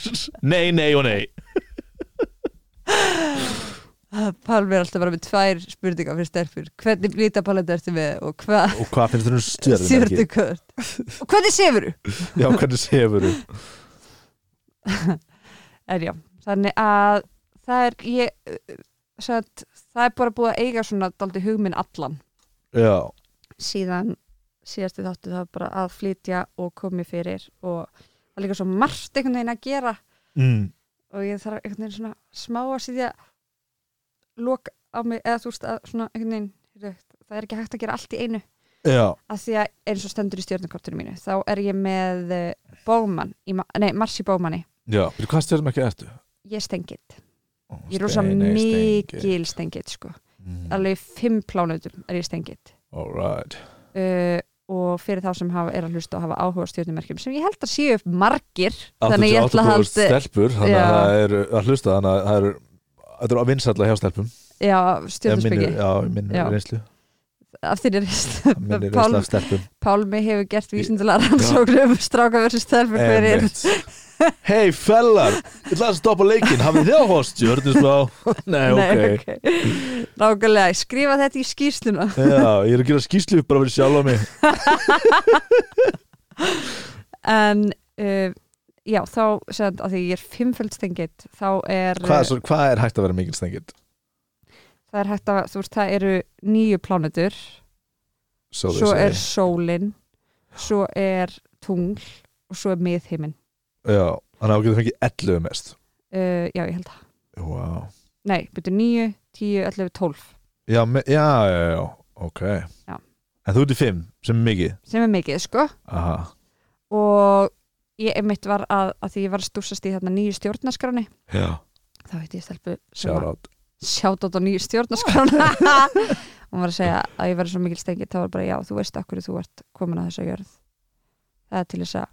nei, nei og nei
Pálmi er alltaf bara með tvær spurningar fyrir stelpur, hvernig lítapaletta ertu með og hvað
og hvað finnst þér um stjörnum
og hvernig sefur þú?
já, hvernig sefur hún
En já, þannig að það er ég, satt, það er bara búið að eiga svona daldi hugminn allan
já,
síðan síðasti þáttu það var bara að flytja og komi fyrir og það er líka svo margt einhvern veginn að gera
mm.
og ég þarf einhvern veginn svona smá að sýðja lok á mig eða þú veist að svona einhvern veginn heyrðu, það er ekki hægt að gera allt í einu
já,
af því að eins og stendur í stjórnarkortinu mínu þá er ég með eh, Bowman í, Ma- nei, Marci Bowmani
já Bíddu, hvað stjörnum ekki ertu?
ég stengið, ég er rosa
Steini, Steini.
mikil stengið sko,
Mm.
alveg fimm plánutum er ég stengið
Alright
uh, og fyrir þá sem hafa, er að hlusta og hafa áhuga á stjórnumerkjum sem ég held að séu margir þannig að ég ætla að
88%
halda
stelpur, þannig
Já.
að það eru að hlusta þannig að það eru Þetta eru að vinsalla hjá stelpum
já,
Eða minni-
stjórnusbyggi
Já, minni
Já.
reynslu
af því
Minni
er
reynslu
Pál,
af stelpum
Pálmi hefur gert vísindulega rannsóknum um stráka versus stelfur hverjir
Hei fellar, ég ætla að stoppa leikinn Hafið þið áhuga á stjörnusbá? Nei, ok
Nei, okay. nákvæmlega, skrifa þetta í skýrsluna
Já, ég er að gera skýslu bara fyrir sjálf á mig
en uh, já, þá sem, að því ég er fimmföld stengið þá er,
Hvað svo- hvað er hægt að vera mikil stengið?
það er hægt að þú veist, það eru nýju plánutur
Svo,
svo er sólin svo er tungl og svo er miðheimin
Já, þannig að þú getur fengið 11 mest
uh, já ég held það,
Wow
nei, byrju 9 10, 11, 12
Já, me- já, já, já, ok
Já.
En þú ert í 5, sem er mikið
sem er mikið sko
Aha,
og ég einmitt var að, að því ég var að stúsast í þarna nýju stjórnarskráni
já,
þá veit ég stelpu sem
shout
að
out
sjátt á nýju stjórnarskrána hún var að segja að ég var svo mikil stengið þá var bara já, þú veist akkur þú ert komin að þessa jörð það er til þess að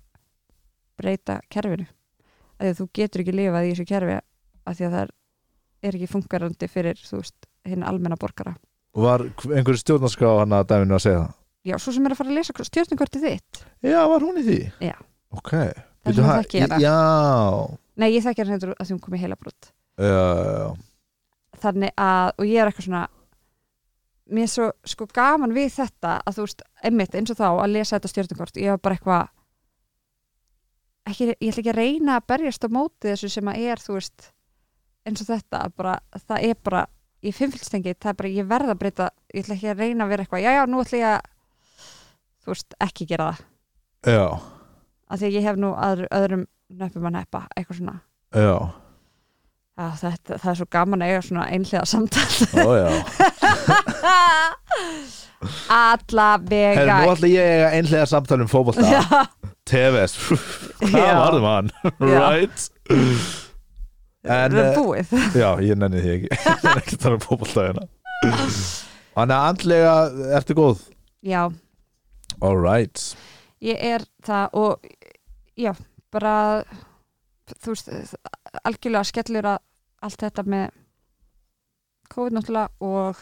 breyta kerfinu að því að þú getur ekki lifað í þessu kerfi að því að það er, er ekki funkarandi fyrir, þú veist, hinn almenna borgara
Var einhverju stjórnarskrá hann að dæminu að segja það?
já, svo sem er að fara að lesa stjórnarkortið þitt
Já, var hún í því?
Já.
Ok
Það
Bíddu,
sem
ha-
það ekki er
í- Já,
nei, ég þekki hann heldur að því hún kom í heilabrútt
já, já,
þannig að, og ég er eitthvað svona mér er svo sko gaman við þetta að þú veist, einmitt eins og þá að lesa þetta stjórnarkort, ég var bara eitthvað ekki, ég ætla ekki að reyna að berjast á móti þessu sem að er þú veist, eins og þetta að bara, það er bara, í fimmfylgstengi það er bara, ég verð að breyta, ég ætla ekki að reyna að vera eitthvað, já já, nú ætla ég að þú veist, ekki gera það
já, já,
af því að ég hef nú aður, öðrum nöppum að neppa, eitthvað svona
já,
að þetta, það er svo gaman að eiga svona einhlega samtal
ó, já.
Alla
Herri,
vega
nú ætla ég að eiga einhlega samtali um fótbolta
Já,
Tevez Hvað
Já.
varðum hann?
Já.
right? En,
það
eh,
er búið
Já, ég nenni því ekki Ég nenni ekki að tala um fótbolta hérna Þannig að andlega ertu góð
já,
All right
ég er það og já, bara þú veist, algjörlega skellur að allt þetta með COVID náttúrulega og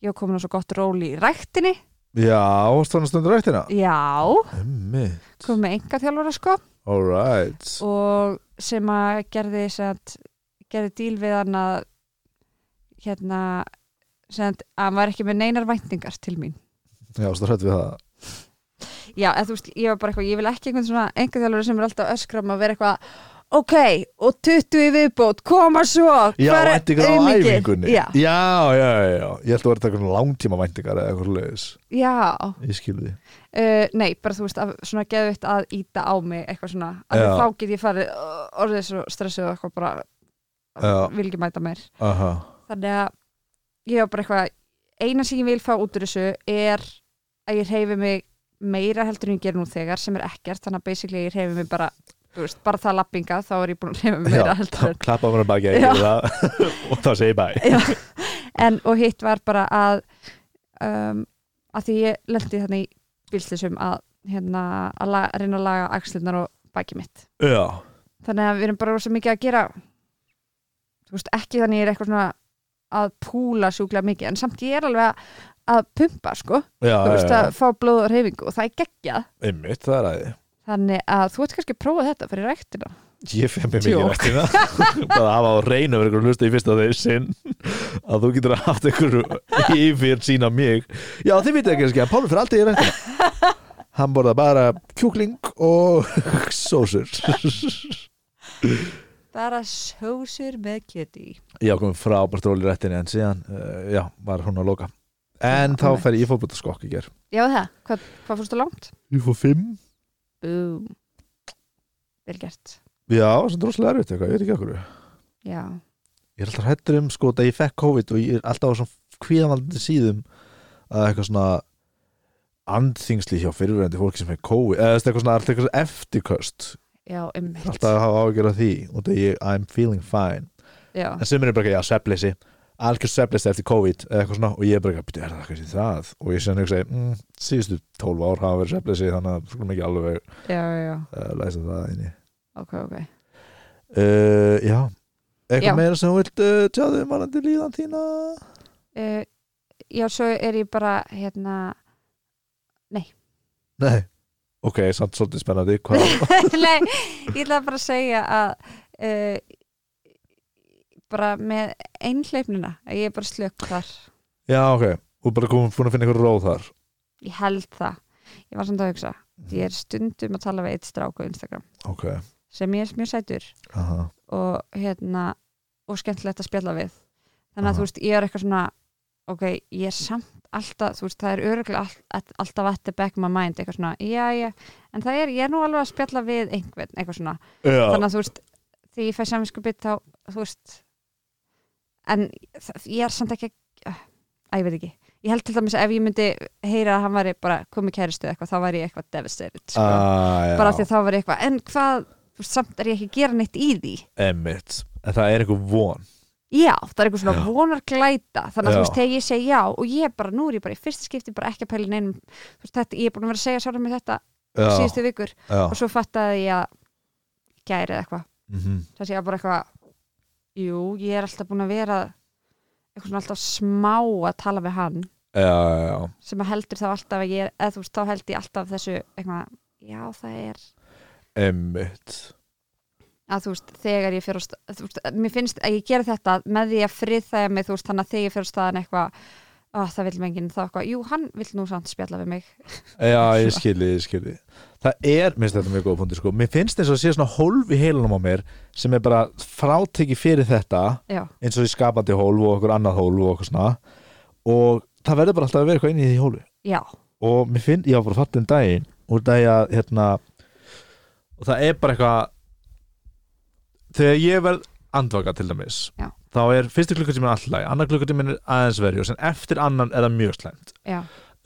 ég var komin á svo gott ról í ræktinni
Já, ástofan stundur rættina
já,
Emmi
komin með enga þjálfara sko
All right
og sem að gerði sent, gerði díl við hann að hérna sent, að hann var ekki með neinar væntingar til mín
Já, stundur hrætt við það
já, eða þú veist, ég var bara eitthvað, ég vil ekki einhvern svona einhvern þjálfur sem er alltaf öskra um að vera eitthvað ok, og 20 í viðbót koma svo,
Já,
hvar er
væntingar á
auðmýkið?"
æfingunni
já,
já, já, já, já. Ég held að vera að taka langtíma væntingar eða eitthvað leiðis
já,
Ég skil því
Uh, nei, bara þú veist, að, svona geðvitt að íta á mig eitthvað svona, að
Já.
þá get ég farið uh, orðið svo stressuð og eitthvað bara
Já.
vil ekki mæta meir
Aha.
þannig að ég var bara eitthvað eina sem ég vil fá út úr þessu er að ég reyfi mig meira heldur en ég ger nú þegar sem er ekkert þannig að basically ég reyfi mig bara þú veist, bara það lappinga þá er ég búin að reyfi mig meira
Já,
heldur en
klappa mér að baki
Já.
og þá segi ég bæ
en og hitt var bara að um, að því ég lendi þannig í bílslisum að hérna að la, reyna að laga axlunar og baki mitt
Já,
þannig að við erum bara rosa mikið að gera þú veist ekki þannig ég er eitthvað svona að púla sjúklega mikið en samt ég er alveg að, að pumpa sko
já,
þú
já,
veist
já.
að fá blóð og reyfingu og það er geggjað
Einmitt, það er aðeins
þannig að þú ert kannski að prófa þetta fyrir rektina
Ég fef mér mikið
Tjók.
rættina bara að hafa á reynu verið einhverjum hlusta í fyrsta þeir sinn að þú getur haft einhverju yfir sína mig Já, þið vitið ekki kannski að Pálur fyrir aldrei í rættina Hann borða bara kjúkling og sósur
bara sósur með kjöti
Já, komum frábært ról í rættinni en síðan, uh, já, var hún að loka En þá
einmitt.
fer ég fótbúta skokk í ger
já það, hvað, hvað fórstu langt?
Ég fór fimm
Búm vel gert
Já, sem droslega erfitt eitthvað, ég veit ekki okkur
já,
Ég er alltaf hættur um sko að ég fekk COVID og ég er alltaf á svona kvíðanvaldandi síðum að eitthvað svona andþingsli hjá fyrirverandi fólki sem er COVID eða þú veist, eitthvað svona alltaf eitthvað eftirköst
já, ummitt
alltaf að hafa ágjör af því og það ég I'm feeling fine
já,
en sem er bara ekki að sveppleysi algjör sveppleysi eftir COVID eða eitthvað svona og ég er bara ekki að er það kannski það og ég sem ekki segi mm, síðustu 12 ár hafa verið sveppleysi þannig að skulum ekki alveg
já, já,
uh, læsa það inni
ok, ok
uh, Já, eitthvað
Já.
meira sem þú vilt uh, tjáðu um varandi líðan þína
uh, já, svo er ég bara hérna
Nei, ok, samt svolítið spennandi Hvað,
Nei, ég ætla bara að segja að uh, bara með einhleifnina að ég er bara slökk þar
já ok, þú er bara komin búin að finna eitthvað róð þar
ég held það, ég var samt að hugsa ég er stundum að tala við eitt strák á Instagram
Ok,
sem ég er mjög sætur
aha,
og hérna og skemmtilegt að spjalla við þannig að
Aha.
þú veist, ég er eitthvað svona ok, ég er samt alltaf þú veist, það er öruglega all, all, alltaf at the back of my mind, eitthvað svona, já, já en það er, ég er nú alveg að spjalla við einhvern, eitthvað svona
já,
þannig að þú veist því ég fæ samvinskupið þá þú veist en það- ég er samt ekki ah, að Æ, ég veit ekki, ég held til dæmis að ef ég myndi heyra að hann væri bara komið kæristu eða eitthvað þá væri ég eitthvað devastated sko.
Ah, já.
bara af því að þá væri ég eitthvað, en hvað þú veist, samt er ég ekki að gera neitt í því
Emmitt, en það er einhver von
já, það er eitthvað svona
Já.
vonarglæta þannig að
Já.
þú veist, þegar ég segi já og ég bara, nú er ég bara í fyrsta skipti bara ekki að pæla í neinum þú veist, þetta, ég er búin að vera að segja sjálfum með þetta
Já,
síðustu vikur
já
og svo fattaði ég að gæri eða eitthvað
mm
þess að ég var bara eitthvað jú, ég er alltaf búin að vera eitthvað svona alltaf smá að tala við hann
Já, já, já
sem að heldur þá alltaf að ég er eða þú veist, þá held ég alltaf þessu eitthvað, já það er
Emmitt
að þú veist, þegar ég fyrir á stað þú veist, mér finnst að ég gera þetta með því að friðþæja mig, þú veist, þannig að þegar ég fyrir á staðan eitthvað, að það vil mig enginn þá eitthvað, jú, hann vil nú samt spjalla við mig
Já, ég skilji, ég skilji Það er, minnst þetta mjög góða punkti sko Mér finnst eins og að sé svona hólf í heilunum á mér sem er bara fráteki fyrir þetta
já,
eins og í skapandi hólf og okkur annað hólf og okkur svona og það verður bara alltaf að vera eitthvað inn í því hólfi
já,
og mér finn, ég var bara fatt um daginn úr dagi að hérna og það er bara eitthvað þegar ég verð andvaka til dæmis
Já.
þá er fyrsti klukkutíminn alltaf læg annar klukkutíminn er aðeins verið og sem eftir annan er það mjög slæmt
já,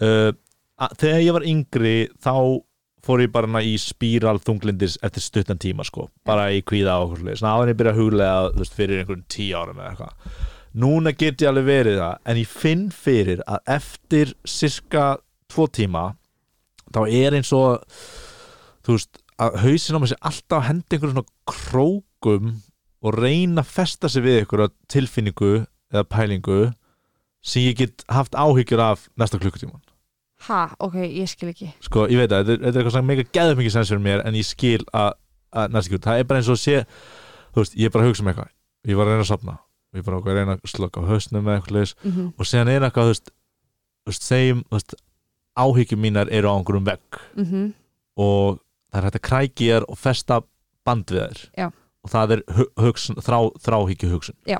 uh, að- þegar ég var yngri þá fór ég bara hana í spíral þunglindis eftir stuttan tíma sko bara í kvíða og okkur sliðis áðan ég byrja að huglega þú veist, fyrir einhvern tíu árum eða eitthvað núna get ég alveg verið það en ég finn fyrir að eftir cirka tvo tíma þá er eins og þú veist að hausin á mér sé alltaf að henda einhverjum svona krókum og reyna að festa sig við einhverja tilfinningu eða pælingu sem ég get haft áhyggjur af næsta klukkutíman
ha, ok, ég skil ekki
sko, ég veit að þetta er- þetta er eitthvað sem mega geðum ekki sens fyrir mér en ég skil að, að næst ekki út, það er bara eins og sé þú veist, ég er bara að hugsa um eitthvað ég var að reyna að safna, ég var að reyna að slöka á hausnum með eitthvað leis
mm -hmm.
og síðan er eitthvað, þú veist, þú veist segjum, þú veist, áhyggjum mínar eru á einhverjum vegg
mhm,
og það er hægt að krækja í þær og festa band við þær
Já.
og það er hu- hugsun, þrá, þráhyggju hugsun
Já.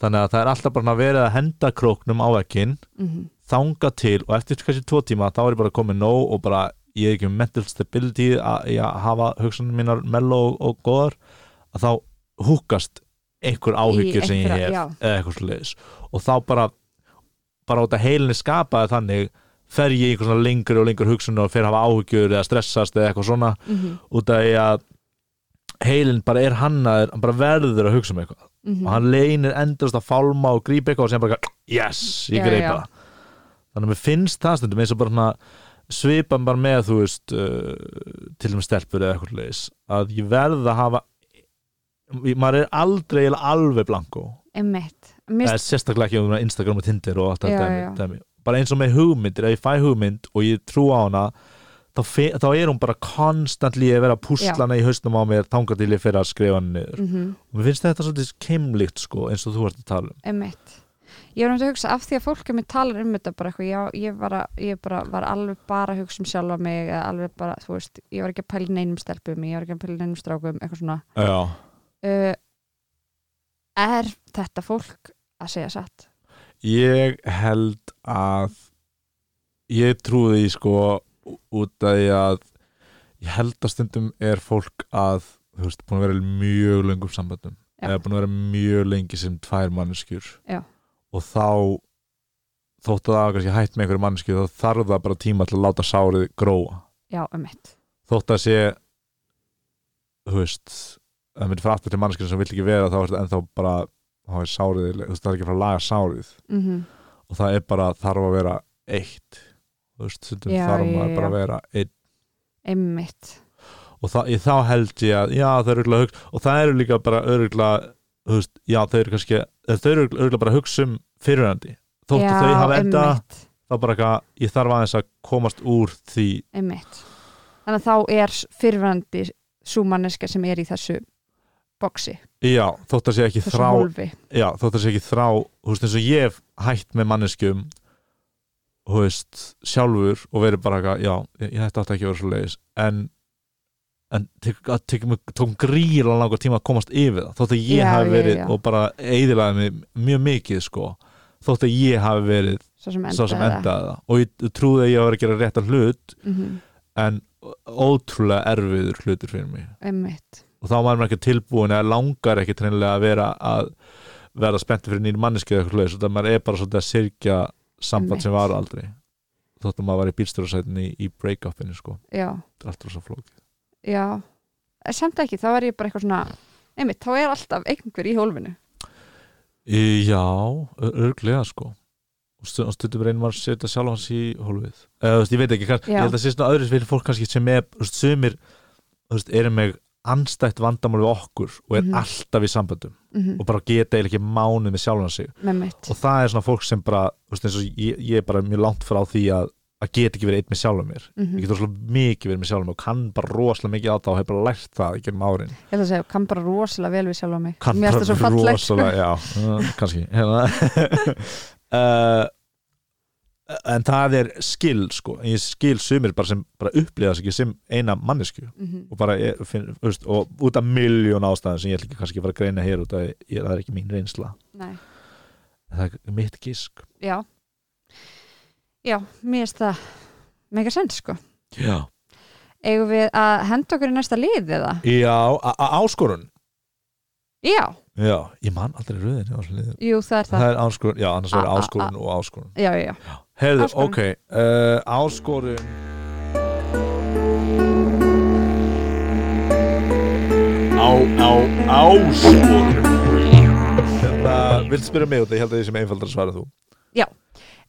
þannig að það er alltaf bara verið að henda króknum á vekkinn
mhm,
þanga til og eftir kannski tvo tíma þá er ég bara komið nóg og bara ég er ekki með mental stability að í að hafa hugsanum mínar mello og, og góðar að þá húkast einhver áhyggjur sem ég hef
já,
eða eitthvað svoleiðis og þá bara bara út að heilinni skapaði þannig fer ég í einhver svona lengri og lengri hugsun og fer að hafa áhyggjur eða stressast eða eitthvað svona
mm -hmm.
út af því að heilin bara er hannaður, hann bara verður að hugsa um eitthvað
mhm.
og hann leynir endast að fálma og grípa eitthvað og sem bara yes, ég
Já,
greipa
já.
það þannig að mér finnst það stundum eins og bara svona svipa bara með þú veist uh, til og með stelpur eða eitthvað leis að ég verð að hafa maður er aldrei eiginlega alveg blanko
emitt Mist,
það er sérstaklega ekki um Instagram og Tinder og allt
Já,
þetta
já.
dæmi- dæmi. bara eins og með hugmyndir, ef ég fæ hugmynd og ég trú á hana þá, fe, þá er hún bara konstantli að vera að
Já.
púslana í hausnum á mér þangar til ég fyrir að skrifa hann niður
mm -hmm.
og mér finnst þetta svolítið keimlíkt sko eins og þú ert að tala um
emitt ég var náttúrulega að hugsa af því að fólk er mér talar um þetta bara eitthvað, já, ég, var að, ég bara, var alveg bara að hugsa um sjálfa mig eða alveg bara, þú veist, ég var ekki að pæla í neinum stelpum, ég var ekki að pæla í neinum strákum eitthvað svona
Já.
uh, er þetta fólk að segja satt?
ég held að ég trúi því sko ú- út af því að ég held að stundum er fólk að þú veist, búin að vera í mjög löngum sambandum
Já.
eða búin að vera mjög lengi sem tvær manneskjur
Já.
og þá þótt að það hafi kannski hætt með einhverju manneskju þá þarf það bara tíma til að láta sárið gróa
Já, emitt
þótt að sé þú veist það myndi fara aftur til manneskjur sem vill ekki vera þá er þetta ennþá bara þá er sárið, þú veist, það er ekki að fara að laga sárið
mm
og það er bara þarf að vera eitt þú veist, stundum
Já,
þarf
já,
maður bara
já.
að vera einn
Einmitt
og það, ég, þá held ég að já, það eru örugglega að hugsa og það eru líka bara öruglega þú veist, já, þau eru kannski eh, þau eru öruglega bara að hugsa um fyrirhandi þótt að þau hafa enda
einmitt,
þá bara eitthvað, ég þarf aðeins að komast úr því
einmitt Þannig að þá er fyrrverandi sú manneska sem er í þessu boksi,
já, þótt að sé ekki
þessu
þrá
hólfi
já, þótt að sé ekki þrá þú veist, eins og ég hef hætt með manneskjum þú veist, sjálfur og verið bara eitthvað, já, ég, ég þetta átti ekki að vera svo leiðis en, en tek, að, tek, mig- tók gríla langar tíma að komast yfir það, þótt að ég
Já,
hafi
já,
verið
já.
og bara eiðilaði mig mjög mikið sko, þótt að ég hafi verið
svo sem endaði
sá sem endaði það og ég trúði að ég var að gera réttan hlut
mm -hmm.
en ótrúlega erfiður hlutur fyrir mig
Einmitt,
og þá var maður ekki tilbúin eða langar ekki treynilega að vera að vera spenntur fyrir nýjum manneski eða eitthvað leis þannig að maður er bara svolítið að sirkja samband sem var aldrei þótt að maður var í bílstjórasætinni í, í break-upinu sko,
já,
Þetta er allt rosa flókið
já Eh, Samt ekki, þá er ég bara eitthvað svona einmitt, þá er alltaf einhver í hólfinu
Í- Já, örglega sko og stu- og stundum reynir maður að setja sjálf hans í hólfið eða þú veist, ég veit ekki, kannski,
Já.
ég held að sé svona öðru fyrir fólk kannski sem er, þú veist, sumir þú veist, erum með anstætt vandamál við okkur og er
Mhm.
alltaf í samböndum
mm
og bara geta eiginlega ekki mánuð með sjálfan sig
Einmitt,
Mhm. og það er svona fólk sem bara þú veist, eins og ég, ég er bara mjög langt frá því að að get ekki verið einn með sjálfum mér
mhm.
ég get rosalega mikið verið með sjálfum mér og kann bara rosalega mikið á það og hef bara lært það í gegnum árin
ég ætla að segja, kann bara rosalega vel við sjálfa mig
kann
Mér finnst það svo fallegt sko.
rosalega, já, uh, kannski Hérna. uh, en það er skil sko, en ég skil sumir bara sem bara upplýðast ekki sem eina mannesku
Mhm.
og bara, ég, finn, þú veist, og út af miljón ástæðan sem ég ætla ekki kannski að fara að greina hér út af ég, það er ekki mín reynsla
Nei,
En það er mitt gísk
já Já, mér finnst það mega sens sko
já
eigum við að henda okkur í næsta lið eða?
Já, a- a- áskorun
Já,
Já, ég man aldrei röðin hjá þessu liðum.
jú það er það,
Það er áskorun, já, annars
A-
verður
a-
áskorun og áskorun
Já, já, já
Heyrðu, uh,
Áskorun.
ok, uh, áskorun á áskorum Hérna, vilt spyrja mig út ég held að ég sem einfaldar að svara en þú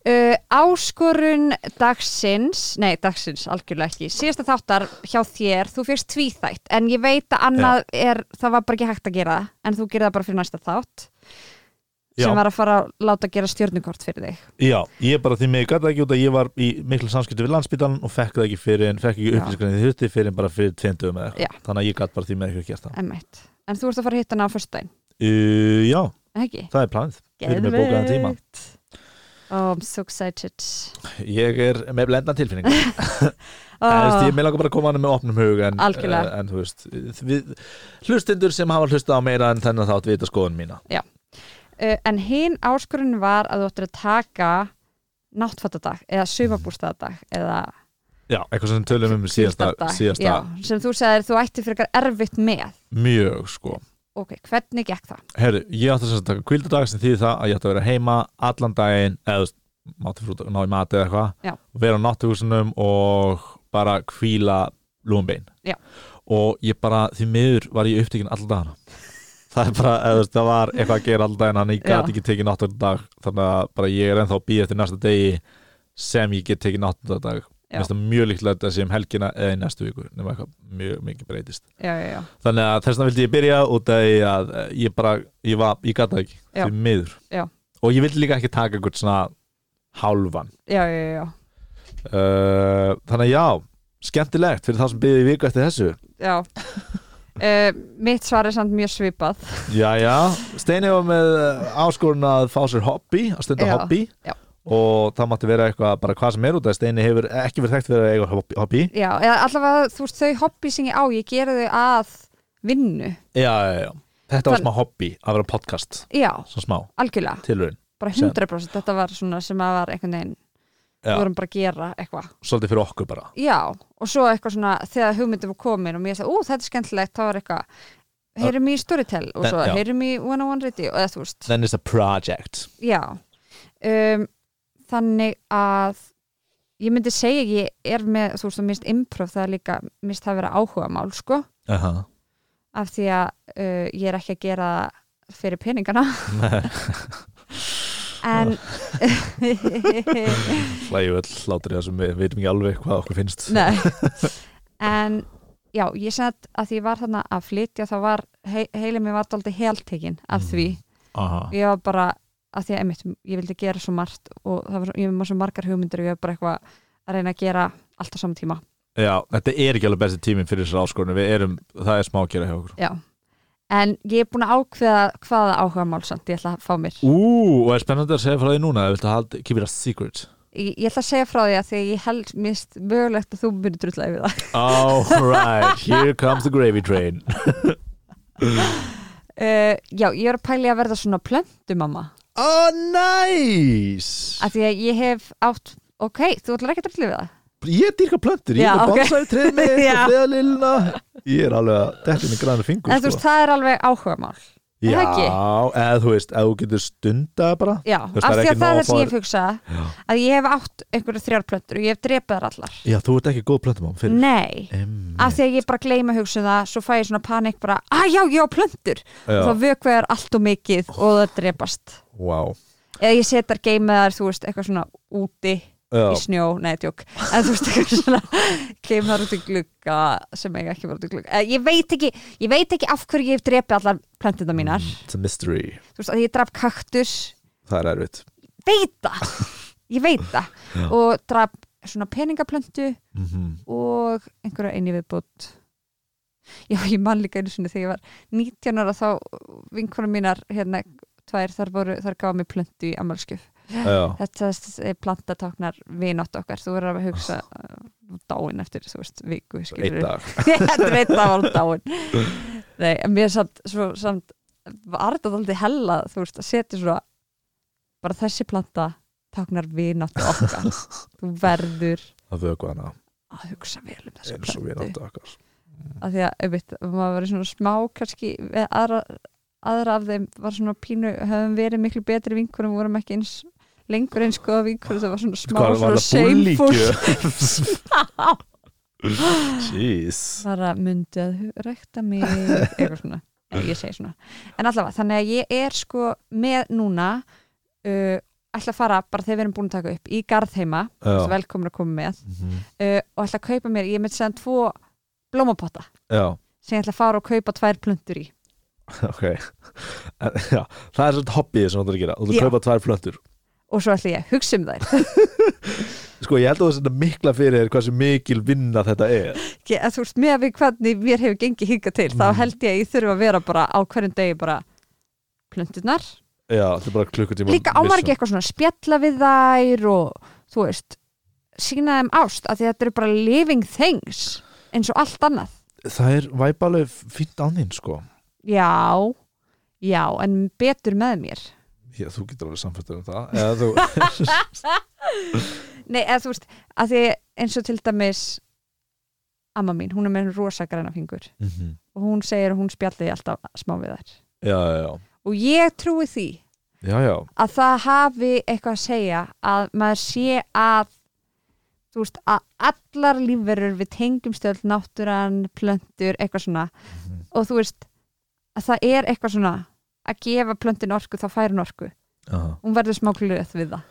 Uh, áskorun dagsins, nei dagsins algjörlega ekki, síðasta þáttar hjá þér, þú fyrst tvíþætt en ég veit að annað er, það var bara ekki hægt að gera það, en þú gerði það bara fyrir næsta þátt
Já.
sem var að fara að láta gera stjörnukort fyrir þig
Já, ég bara því mig gæta ekki út að ég var í miklu samskipti við landsbítan og fekk það ekki fyrir en fekk ekki
Já.
upplýskarnið í þurfti fyrir en bara fyrir tveimdöfum eða
Já.
eitthvað þannig að ég gæt bara því með ekki að gert það
Einmitt. en þú ert að fara að hitta hana á föstudaginn,
uh, Já,
ekki?
það er planið Við erum með bókaðan tíma.
Geðveikt. oh, I'm so excited
Ég er með blendan tilfinning oh.
Oh,
veist, Ég með langar bara að koma hann með opnum hug en,
Ah. Algjörlega.
eh, en þú veist við, hlustindur sem hafa hlusta á meira en þennan þátt vita skoðun mína
uh, en hinn áskorun var að þú ættir að taka náttfattadag eða sumabústaðadag eða
Já, eitthvað sem tölum um síðasta,
hvíldardag.
síðasta
Já, sem þú sagðir þú ætti fyrir eitthvað erfitt með
mjög sko
ok, hvernig gekk það?
Herru, ég átti sem sagt að taka kvildadag sem þýði það að ég átti að vera heima allan daginn eða þú veist, mátti frúta, ná í mati eða
Já.
eitthvað vera á náttúrhúsunum og bara kvíla lúmbein
Já.
og ég bara, því miður var ég upptekinn allan dagana það er bara, eða, þú veist, það var eitthvað að gera allan daginn þannig ég
Já.
gæti ekki tekið náttúrhúsundag þannig að bara ég er ennþá að býja eftir næsta degi sem ég get tekið náttúrhúsundag
Já.
mér finnst það mjög líklega þetta sé um helgina eða í næstu viku nema eitthvað mjög mikið breytist
já, já, já,
þannig að þess vegna vildi ég byrja út af því að eh, ég bara, ég var, ég gata ekki
Já.
því miður
Já.
og ég vildi líka ekki taka einhvern svona hálfan
já, já, já, já.
uh, þannig að já, skemmtilegt fyrir þá sem byrði í viku eftir þessu
já. Uh, mitt svar er samt mjög svipað
já, já, Steini var með eh, áskorun að fá sér hobby, að stunda
Já,
hobby
já.
og það mátti vera eitthvað bara hvað sem er út af því að Steini hefur ekki verið þekkt fyrir að eiga hobby, hobby.
já, eða allavega þú veist þau hobby sem ég á ég gera þau að vinnu
Já, já, já. þetta var
Þann-
smá hobby að vera podcast,
já,
svona smá,
algjörlega,
tilurinn
bara 100% þetta var svona sem að var einhvern veginn við
já,
vorum bara að gera eitthvað
svolítið fyrir okkur bara
Já, og svo eitthvað svona þegar hugmyndum var komin og mér sagði, ú, þetta er skemmtilegt, þá var eitthvað heyrum í Storytel og
Þe-
svo
já.
heyrum í One on One Radio og eða þú veist,
then it's a project
já um, þannig að ég myndi segja að ég er með, þú veist, og minnst improv það er líka, minnst það vera áhuga mál sko,
uh -huh.
af því að uh, ég er ekki að gera það fyrir peningana en
hlægjum öll hlátur í þessum við veitum ekki alveg hvað okkur finnst
Nei En já, ég sagði að því ég var þarna að flytja þá var, he heilin mér var dálítið heltekinn af
Mm.
því,
Aha.
ég var bara að því að einmitt, ég vildi gera svo margt og það var, ég var með svo margar hugmyndir og ég var bara eitthvað að reyna að gera allt á sama tíma
Já, þetta er ekki alveg besti tíminn fyrir þessar áskorunum við erum, það er smá að gera hjá okkur
já. en ég er búin að ákveða hvaða áhuga málsamt ég ætla að fá mér
Ú, og er spennandi að segja frá því núna eða viltu halda, keep it a secret
ég, ég ætla að segja frá því að því að ég held mist mögulegt að þú myndir drullega við það
Alright, here comes the gravy train
uh, já, ég er að pæli að verða svona plöntumamma
Oh, nice
af því að ég hef átt ok, þú ætlar ekki að drullega við það
Ég dýrka plöntur, ég
Já,
er með
ok.
bonsai treð mitt og
Já.
fleðalilna Ég er alveg að þetta er með græna fingur sko.
En þú veist, það er alveg áhugamál er
Já,
það ekki?
eða þú veist, eða þú getur stundað bara
Já,
Þú veist,
af
það er
því
ekki
að það er
nóg
það
að
sem
fá
ég hugsa
Já,
að ég hef átt einhverju þrjár plöntur og ég hef drepið þar allar
Já þú ert ekki góð plöntumám fyrir
Nei,
Einmitt.
af því að ég bara gleyma að hugsa um það svo fæ ég svona panik bara, að já, ég á plöntur
Já.
og þá vökva þær allt og mikið og það drepast
Vá
eða ég setar geima þar, þú veist, eitthvað svona úti
Já.
í snjó, nei, tjók en þú veist, eitthvað svona geima þar út í glugga sem eiga ekki að vera út í glugga Eh, ég veit ekki, ég veit ekki af hverju ég hef drepið allar plöntina mínar
It's a mystery
þú veist, að ég draf kaktus
Það er erfitt
veit það ég veit það og draf svona peningaplöntu
mm -hmm.
og einhverja eini viðbútt já ég man líka einu sinni þegar ég var 19 ára þá vinkonum mínar hérna tvær þar voru þar gáða mér plöntu í ammálskjöf
Já,
þetta er plantatáknar vinátt okkar þú verður að hugsa
Ah.
uh, dáin eftir þú veist viku
einn
skilurðu.
dag
þetta veit það var hún dáin nei en mér samt, svo, samt var þetta aldrei hella þú veist að setja svona bara þessi planta táknar vináttu okkar þú verður
að vöku hana
að hugsa vel um þessu
eins og við
plöntu
náttu okkar
af því að einmitt, maður verið svona smá kannski eða aðra, aðra af þeim var svona pínu, höfum verið miklu betri vinkur en vorum ekki eins lengur eins góða vinkur það var svona smá
Hvað var
svona
það búlíkju?
shameful
Jeez
bara myndi að hu- rækta mig eitthvað svona, Nei, ég segi svona en allavega, þannig að ég er sko með núna uh, ætla að fara, bara þegar við erum búin að taka upp í Garðheima,
Já,
sem velkomin að koma með
Mhm.
uh, og ætla að kaupa mér, ég myndi segja tvo blómapotta
já
sem ég ætla að fara og kaupa tvær plöntur í
ok en, já, Það er svolítið hobbyið sem þú ætlar að gera Þú ætlar
Já.
að kaupa tvær plöntur
og svo ætla ég að hugsa um þær
Sko, ég held að það er svona mikla fyrir þér hversu mikil vinna þetta er
Ekki, að þú veist, með við hvernig mér hefur gengið hinga til, þá
Mhm.
held ég að ég þurfa að vera bara á hverjum degi bara plönturnar
Já, þetta er bara klukkutíma
líka ámar ekki
mission.
eitthvað svona spjalla við þær og þú veist sína þeim ást að því þetta eru bara living things eins og allt annað
Það er væpaleg fínt án þín, sko
já, já en betur með mér
Já, þú getur alveg samfættur um það Eða þú,
nei, eða þú veist, að því eins og til dæmis amma mín, hún er með rosa græna fingur
Mhm.
og hún segir að hún spjalli alltaf smá við þær
Já, já, já
og ég trúi því
Já, já,
að það hafi eitthvað að segja að maður sé að þú veist að allar lífverur við tengjumstöld, náttúran, plöntur eitthvað svona
Mhm.
og þú veist að það er eitthvað svona að gefa plöntin orku þá fær hún orku
Aha.
hún verður smá glöð við það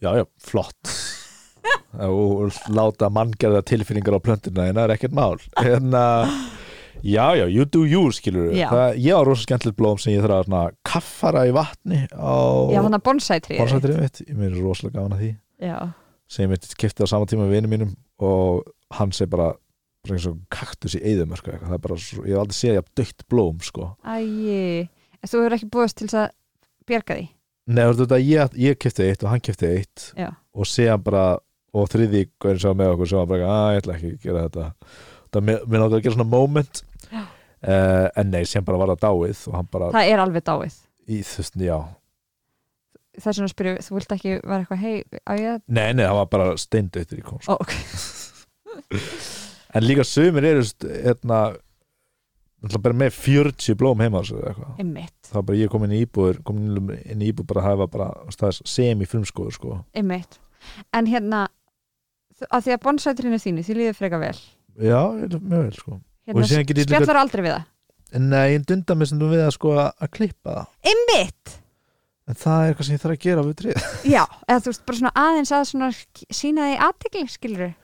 já, já, flott og láta manngerða tilfinningar á plöntuna en það er ekkert mál en uh, já, já, you do you skilur
Já.
það, ég á rosa skemmtilegt blóm sem ég þarf að svona, kaffara í vatni á
já þannig að bonsætri
bonsættirinn mitt ég mér er rosalega gaman að því
já,
sem ég mitt kipti á sama tíma við vinum mínum og hann sé bara, bara eins og kaktus í eyðumörk og eitthvað. það er bara, svo, ég hef aldrei séð ég dögt blóm sko.
æji En þú hefur ekki búist til þess að bjerga því
Nei, þú veist þetta, ég, ég kipti eitt og hann kipti eitt
Já.
og sé hann bara og þriði gaurinn sem var með okkur sem var bara eitthvað, að ég ætla ekki að gera þetta það mér mér langar að gera svona moment
Já.
uh, en nei, sem bara var það dáið og hann bara,
það er alveg dáið
í þessum, já
þess vegna spyrjum, við, þú vilt ekki vera eitthvað hei, á ég að
nei, nei, hann var bara steindautur í kom
Ó,
sko.
ok.
en líka sumir eru þú veist, hérna náttúrulega bara með 40 blóm heima á sér eða eitthvað.
einmitt,
það var bara ég kom inn í íbúður kom inn í- inn í íbúð bara að hafa bara þú veist, það er semi-frumskóður sko
einmitt en hérna að því að bonsætrinu þínu, því líður freka vel
já, mjög vel sko Og
hérna,
síðan get ég líka-
spjallar aldrei við það
Nei, ég dunda mig sem þú við að sko að að klippa það
einmitt,
En það er eitthvað sem ég þarf að gera við tríð
já, eða þú veist bara svona aðeins að svona sína því aðtegli skilur,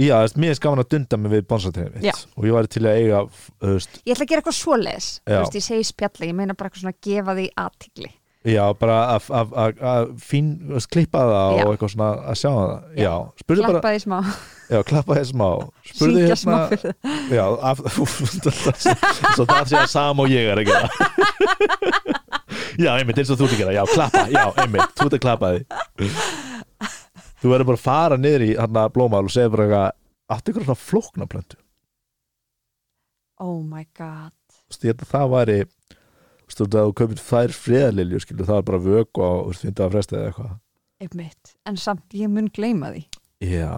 Já, þú veist, mér er skaman að dunda mig við bonsatreinu
Já.
mitt Og ég væri til að eiga, þú veist,
ég ætla að gera eitthvað svoleiðis þú
Já.
veist, ég segi spjalli, ég meina bara eitthvað svona að gefa því aðtegli,
já, bara að- að- að að fín, þú veist, klippa það
Já.
og eitthvað svona að sjá það
Já.
Já, spurðu bara,
klappa því smá
já, klappa þér smá Spurðu hérna-
syngja smá fyrir það
Já, af, úf, svo það sé að sam og ég er að gera Já, einmitt, eins og þú ert að gera Já, klappa, já, einmitt, þú ert að klappa því Þú verður bara að fara niður í hann að blómál og segja bara eitthvað Áttu ykkur svona flókna plöntu
oh my god,
Þú veist, ég held að það væri Þú veist, ef þú kaupir þær friðalilju skilur, það er bara vöku á fynda að fresta eða eitthvað
einmitt en samt, ég mun gleyma því
Já,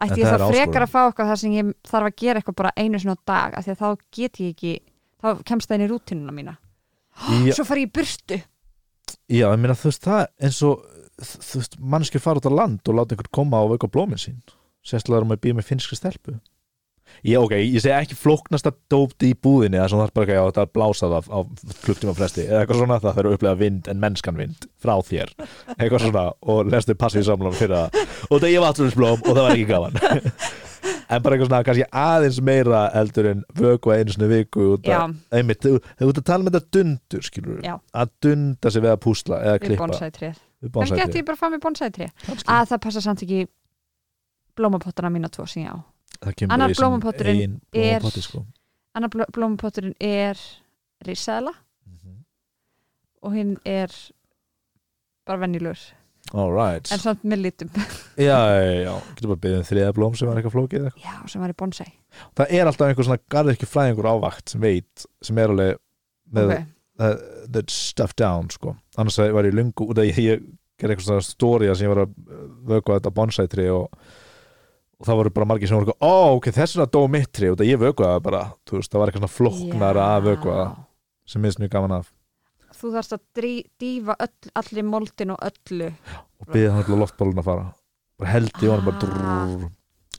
ætti
En
ég
það
það
er
frekar
áskorun.
að fá eitthvað þar sem ég þarf að gera eitthvað bara einu svona á dag af því að þá get ég ekki þá kemst það inn í rútinuna mína
Já.
svo far ég í burtu
já, ég meina þú veist, það er eins og þú veist, mannskir fara út á land og láta einhvern koma og vöku á blómin sín Sérstlega erum við býð með finnskri stelpu Já, ok, ég segi ekki flóknasta dópti í búðinni það sem það er bara ekki að þetta blása það á klukktíma fresti eða eitthvað svona það þarf að upplega vind en mennskan vind frá þér eitthvað svona og lestu passið samlum fyrir það og þetta ég var aðsvöldisblóm og það var ekki gaman en bara eitthvað svona kannski aðeins meira eldur en vöku einu sinni í viku út
já,
að, einmitt, þú þú ert að tala með þetta dundur skilur
Já.
að dunda sig við að púsla eða
við
klippa
bonsætrið Mm.
við
kannski
bonsai
ætti ég bara að fá mér bonsætrið
Kannski.
að það passa samt ekki blómapottana mína tvo sem ég á
það kemur
annar
í sinn
blómapotturinn
eigin
er-
blómapotti, sko.
annar bló- blómapotturinn er risaðala
Mhm.
og hinn er bara venjulur
all right
en samt með litum
já, já, já, já. getur bara beðið um þriða blóm sem er eitthvað flókið eða eitthvað.
já, sem var í bonsæ
það er alltaf einhver svona garðirkju fræðingur ávakt sem veit, sem er alveg með
okay.
uh, that stuff down sko. annars var ég lungu út að ég, ég gerði eitthvað svona stóri sem ég var að uh, vökva þetta bonsætri og, og það voru bara margir sem voru eitthvað, ó ok, þess vegna dó mitt tré út að ég vökvaði það bara, þú veist, það var eitthvað svona flóknara að vökva það,
Já.
sem minnst mjög gaman af
þú þarfst að drí- dýfa öll, allir moldin og öllu
og byggði hann upp á loftbólun að fara bara held í honum bara
Ah.
drrrr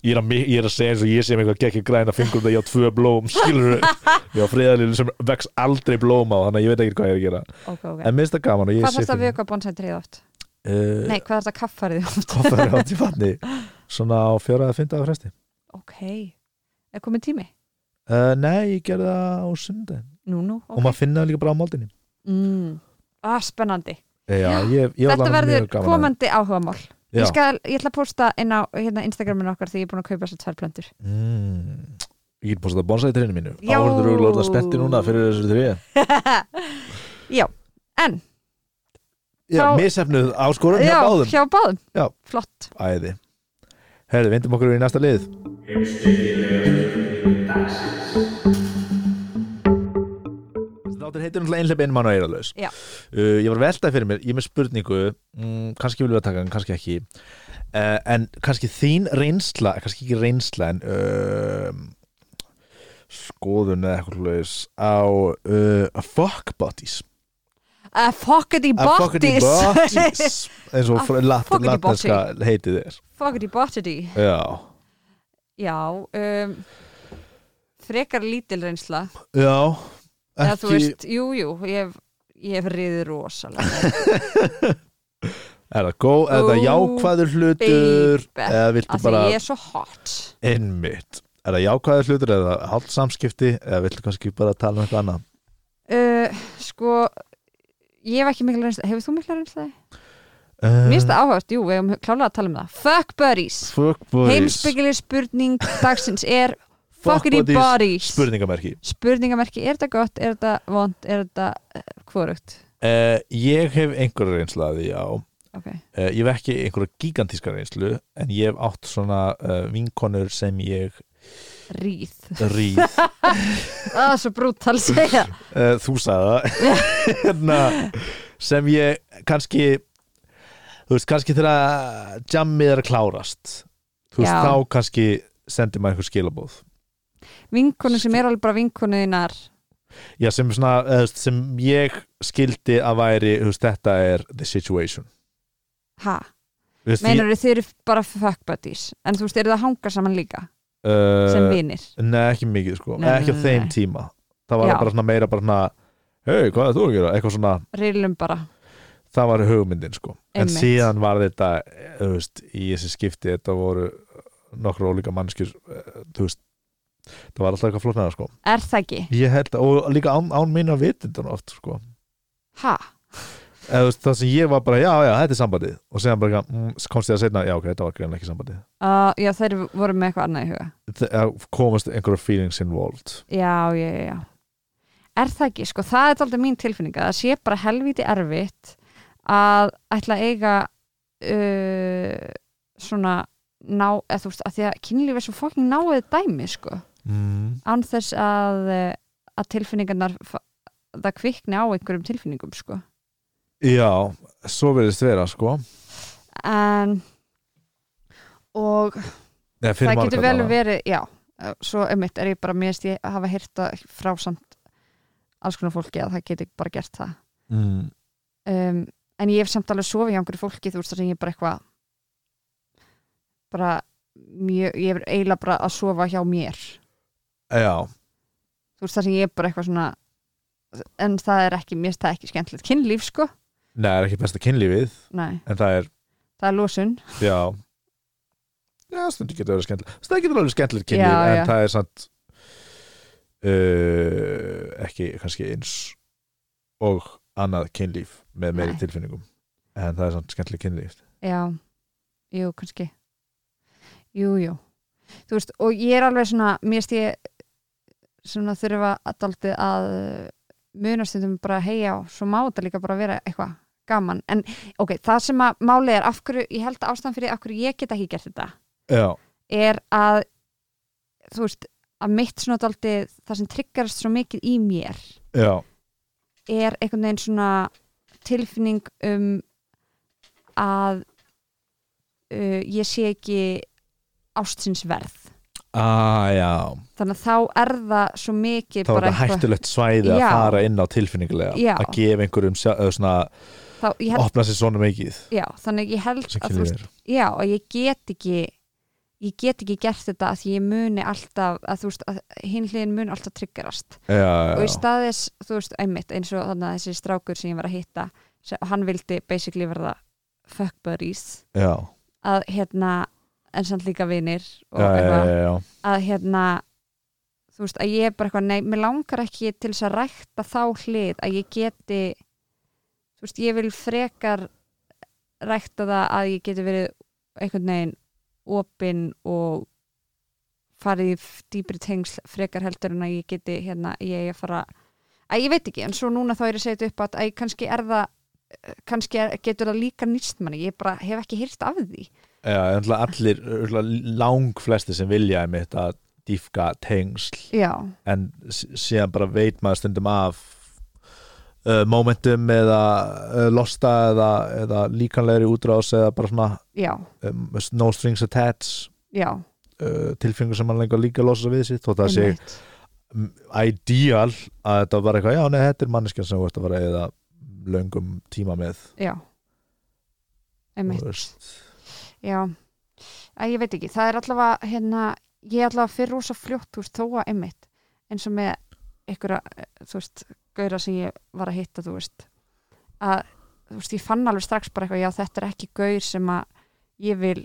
ég er, að, mi- ég er að segja eins og ég sé með eitthvað gekk í græna fingur þegar ég á tvö blóm, skilur ég á friðalilu sem vex aldrei blóm á þannig að ég veit ekki hvað ég er að gera
ok, ok
en minnst það gaman og ég
Hvað
sé
þarf þetta að vöka bonsai treið oft?
uh,
Nei, hvað þarf þetta að kaffarið oft?
koffer á tífanni svona á fjóra að fynda á fresti
Ok, er komin tími?
uh, nei, ég gerði það á sundin
Nú, nú,
og
ok
maður finna það líka bara á máldinni
mm. ah, Spennandi
já, ég, ég var
Þetta
alveg
verður
mjög gaman að-
komandi áhugamál
Já.
ég, skal, ég ætla að posta inn á hérna, Instagraminu okkar því ég er búin að kaupa þessar tvær plöntur
Mm. Ég get postað bonsai treinu mínu
Já.
Áhörður eru alltaf spennti núna fyrir þessu trí
Já, en
Já,
Þá-
misefnuð áskorun hérna hjá
já,
báðum
hjá báðum.
Já.
Flott
Æði Herðu, vindum okkur í næsta lið Þáttur heitir náttúrulega einhleip einmann og eiralaus
Já.
uh, Ég var að velta fyrir mér, ég er með spurningu mm, kannski viljum við að taka hann, kannski ekki uh, en kannski þín reynsla kannski ekki reynsla en uh, skoðun eða eitthvað laus á uh, fuck buddies
A Fockety
A Eh, fuckity
Eh, Botties
botties eins og fr- lat-
fuckity
latinska heitið er
Fockety Bottity
Já,
Já um, Frekar lítil reynsla
já
Eða þú
ekki,
veist, jú, jú, ég hef, ég hef riðið rosalega
er það góð, er það
Ó,
jákvæður hlutur
baby.
eða viltu
Af því
bara
ég er svo hot
innmitt er það jákvæður hlutur eða hald samskipti eða viltu kannski bara tala um eitthvað annað
uh, Sko Ég hef ekki mikla reynsla, hefur þú mikla reynsla?
uh,
Mér finnst það áhört, jú, við hefum klálega að tala um það Fuck buddies,
fuck buddies
heimspegli spurning dagsins er Fuckity
buddies,
buddies
spurningamerki
Spurningamerki, er þetta gott, er þetta vond, er þetta uh, hvorugt
uh, ég hef einhverja reynsla að því já
Ok,
Uh, ég hef ekki einhverja gigantíska reynslu en ég hef átt svona uh, vinkonur sem ég
ríð
ríð
Það er svo brútal segja
uh, þú sagði það hérna, sem ég kannski þú veist, kannski þegar jammið er að klárast þú veist,
Já.
þá kannski sendir maður einhver skilabóð
Vinkonu sem er alveg bara vinkonuðinar
Já, sem, svona, eða, þú veist, sem ég skildi að væri þú veist, þetta er the situation
Ha,
Þú veist,
meinar þið eru bara fuck buddies En þú veist, eru það að hanga saman líka
ég, uh,
sem vinir
Nei, ekki mikið sko,
Nei,
ekki á
nei,
þeim
nei. tíma.
tíma það var
Já.
það bara svona meira bara svona hei, hvað er þú að gera, eitthvað svona
Rilum bara
það var hugmyndin sko en
Einmitt.
síðan var þetta eh, þú veist, í þessi skipti, þetta voru nokkur ólíka mannskjur eh, þú veist, það var alltaf eitthvað flóknara sko
Er það ekki?
ég held, og líka án, án mín að vitundan oft sko,
Ha?
Eða, þú veist, það sem ég var bara, já, já, þetta er sambandið og síðan bara, eitthvað, mm, komst ég að segna já, ok, þetta var greinlega ekki sambandið
Uh, já, þeir voru með eitthvað annað í huga
Það komast einhverja feelings involved
Já, já, já, já Er það ekki? Sko, það er aldrei mín tilfinninga það sé bara helvíti erfitt að ætla að eiga uh, svona ná, eða þú veist, að því að kynlíf er svo fokking náið dæmi, sko
mm.
án þess að, eh, að tilfinningarnar fa- það kvikni á einhverjum tilfinningum, sko
já, svo verðist vera sko
en og
Nei, fyrir
það
marga
getur vel
daga.
verið, já eh, svo einmitt er ég bara mest ég að hafa hýrta frá samt alls konar fólki að það getur bara gert það
mm.
um, en ég hef samt alveg sofið hjá einhverju fólki þú veist það sem ég bara eitthvað bara mjög, ég hef eiginlega bara að sofa hjá mér þú
já,
veist það sem ég er bara eitthvað svona en það er ekki, mér finnst það ekki skemmtilegt kynlíf sko,
neða, er ekki besta kynlífið
nei,
en það er
það er losun
Já Já, stundu getur verið skemmtilegt Það getur alveg skemmtilegt kynlíf
Já,
en
já.
það er samt uh, ekki kannski eins og annað kynlíf með meiri
Nei.
tilfinningum en það er samt skemmtilegt kynlíf
já, jú, kannski jú, jú þú veist, og ég er alveg svona mér finnst ég svona þurfa að daldi að munastundum bara heyja og svo má þetta líka bara vera eitthvað gaman en ok, það sem að málið er af hverju, ég held að ástæðan fyrir af hverju ég get ekki gert þetta
Já,
er að þú veist, að mitt svona daldi það sem tryggarast svo mikið í mér
já,
er einhvern veginn svona tilfinning um að uh, ég sé ekki ástsins verð
ah, já
þannig að þá er það svo mikið
Þá er
bara
þetta hættulegt svæði að
Já.
fara inn á tilfinningulega
Já.
að gefa einhverjum sjá, eða svona,
þá, ég held,
opna sér svona mikið
já, þannig ég held
sem
að þú
kynlíf
veist,
er
já, að ég get ekki ég get ekki gert þetta að ég muni alltaf að þú veist, að hinn hliðin mun alltaf triggerast
já,
og í
já,
staðis, þú veist, einmitt eins og þannig að þessi strákur sem ég var að hitta sem, og hann vildi basically verða fuck buddies
já,
að hérna, en samt líka vinir og
já, já,
eitthvað,
já, já.
að hérna þú veist, að ég er bara eitthvað, nei, mér langar ekki til þess að rækta þá hlið að ég geti þú veist, ég vil frekar rækta það að ég geti verið einhvern veginn opinn og farið í f- dýpri tengsl frekar heldur en að ég geti hérna, ég eigi að fara að ég veit ekki, en svo núna þá er ég að segja þetta upp að, að kannski er það kannski er, getur það líka nýst manni ég bara hef ekki hýrt af því
já en allir, allir lang flesti sem vilja einmitt að dýfka tengsl
já,
en s- síðan bara veit maður stundum af uh, momentum eða uh, losta eða, eða líkanlegri útrás eða bara svona
já,
um, no strings attached
já
uh, tilfengur sem mann lengur líka að losa sig við sitt þótt að sé
einmitt.
m- ideal að þetta var eitthvað, já nei þetta er manneskjan sem þú ert að fara eða löngum tíma með
já
þú
einmitt,
veist.
já að ég veit ekki, það er allavega hérna, ég er allavega fyrir rosa fljótt þú veist, þó að einmitt, eins og með einhverja, eh, þú veist, gauðra sem ég var að hitta, þú veist að, þú veist, ég fann alveg strax bara eitthvað, já, þetta er ekki gauð sem að ég vil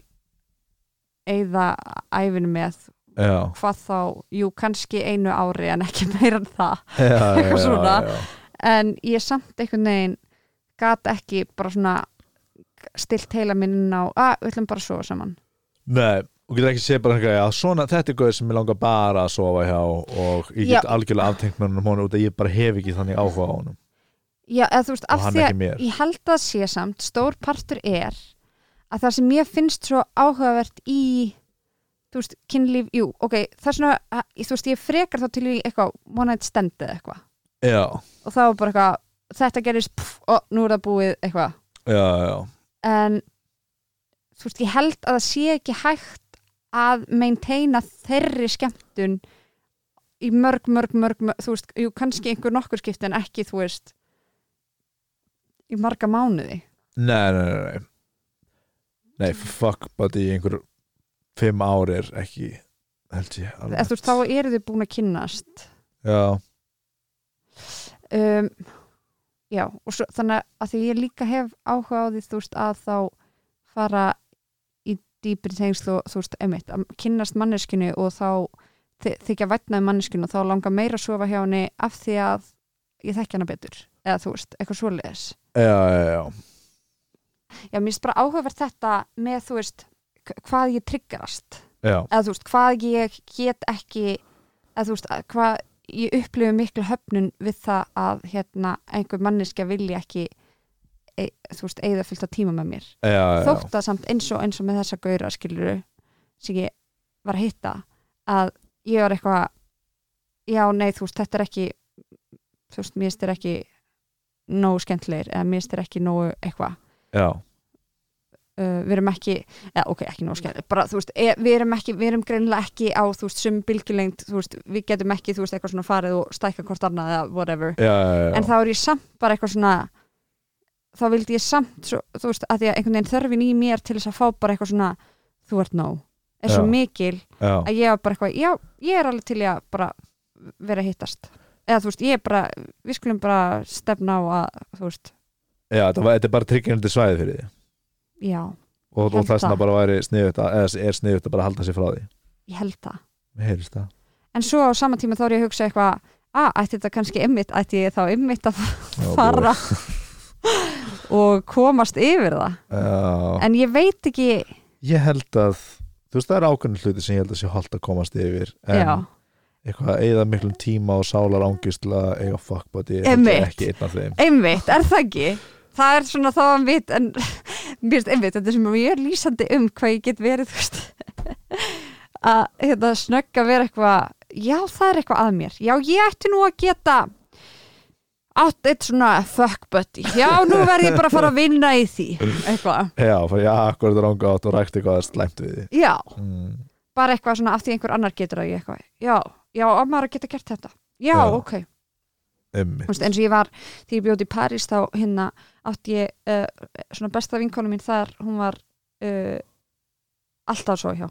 eigða æfinu með,
já,
hvað þá jú, kannski einu ári en ekki meira en það
já, já,
Eitthvað svona.
já,
en ég samt einhvern veginn gat ekki bara svona stilt heila minn inn á að við ætlum bara að sofa saman
nei og getur ekki séð bara eitthvað, já svona þetta er gauð sem ég langar bara að sofa hjá og ég
Já.
get algjörlega aftengt mér honum honum út að ég bara hef ekki þannig áhuga á honum
Já, eða þú veist,
og
af
hann
því
ekki
að
mér
ég held að sé samt stór partur er að það sem ég finnst svo áhugavert í þú veist, kynlíf, jú, ok það er svona, að, þú veist, ég frekar þá til í eitthvað one night stand eða eitthvað
já,
og þá er bara eitthvað, þetta gerist pff, og nú er það búið eitthvað
já, já,
en þú veist, ég held að það sé ekki hægt að maintaina þeirri skemmtun í mörg, mörg, mörg, mörg þú veist, jú, kannski einhver nokkur skipti en ekki, þú veist í marga mánuði
nei, nei, nei nei, nei fuck buddy í einhver fimm ár er ekki held ég
eða þú veist, þá eru þau búin að kynnast
já,
um, já, og svo, þannig að því ég líka hef áhuga á því, þú veist, að þá fara í dýpri tengsl og þú veist, emitt, að kynnast manneskinu og þá þy- þykja vætnaði manneskinu og þá langar meira að sofa hjá henni af því að ég þekki hana betur eða þú veist, eitthvað svoleiðis
já, já, já
já, mér finnst bara áhugavert þetta með, þú veist, k- hvað ég triggerast
Já,
eða þú veist, hvað ég get ekki eða þú veist, að- hvað ég upplifu miklu höfnun við það að hérna, einhver manneskja vilji ekki e, þú veist, eigða fyllt að tíma með mér
já, já, já,
þótt að samt eins og eins og með þessa gaura skiluru sem ég var að hitta að ég var eitthvað já, nei, þú veist, þetta er ekki þú veist, mér styrir ekki nógu skemmtilegir eða mér styrir ekki nógu eitthvað
já,
uh, við erum ekki, eða ok, ekki nóg skemmt bara þú veist, e, við erum ekki, við erum greinlega ekki á þú veist, sum bylgjulengd, þú veist við getum ekki, þú veist, eitthvað svona farið og stækka hvort annað eða whatever,
já, já, já.
en þá er ég samt bara eitthvað svona þá vildi ég samt, svo, þú veist, að því að einhvern veginn þörfin í mér til þess að fá bara eitthvað svona þú ert nóg, er svo
Já.
mikil
já,
að ég var bara eitthvað, já, ég er alveg til í að bara vera að hittast eða þú veist, ég er bara, við skulum bara stefna á að, þú veist,
já þetta, var, þetta er bara tryggjandi svæði fyrir því
já
og, og
Held
það sem
það.
bara væri sniðut að, eða er sniðut að bara halda sér frá því
ég held það
Mér heyrist það
en svo á sama tíma þá er ég að hugsa eitthvað að ætti þetta kannski ymmit, ætti ég þá ymmit að
Já,
fara og komast yfir það
Já,
en ég veit ekki
ég held að þú veist það er ákveðin hluti sem ég held að sé holdt að komast yfir en
já,
eitthvað að eigða miklum tíma og sálar ángist til að eiga fuck buddy ég held
Einmitt.
ég ekki einn af þeim
ymmit, er það ekki það er svona þá að mitt en mér finnst ymmit, þetta er sem ég er lýsandi um hvað ég get verið þú veist, að hérna, snögg að vera eitthvað já, það er eitthvað að mér já, ég ætti nú að geta átt eitt svona fuck buddy já, nú verð ég bara að fara að vinna í því eitthvað
Já, fyrir ég akkur þetta ranga átt og rækti eitthvað að slæmt við því
Já,
mm,
bara eitthvað svona af því einhver annar getur það í eitthvað. Já, já, á maður að geta gert þetta. Já,
Já.
ok. Þú
Einmitt.
Veist, eins og ég var, því ég bjóði í París þá hérna átti ég uh, svona besta vinkonu mín þar, hún var uh, eh, alltaf svo hjá.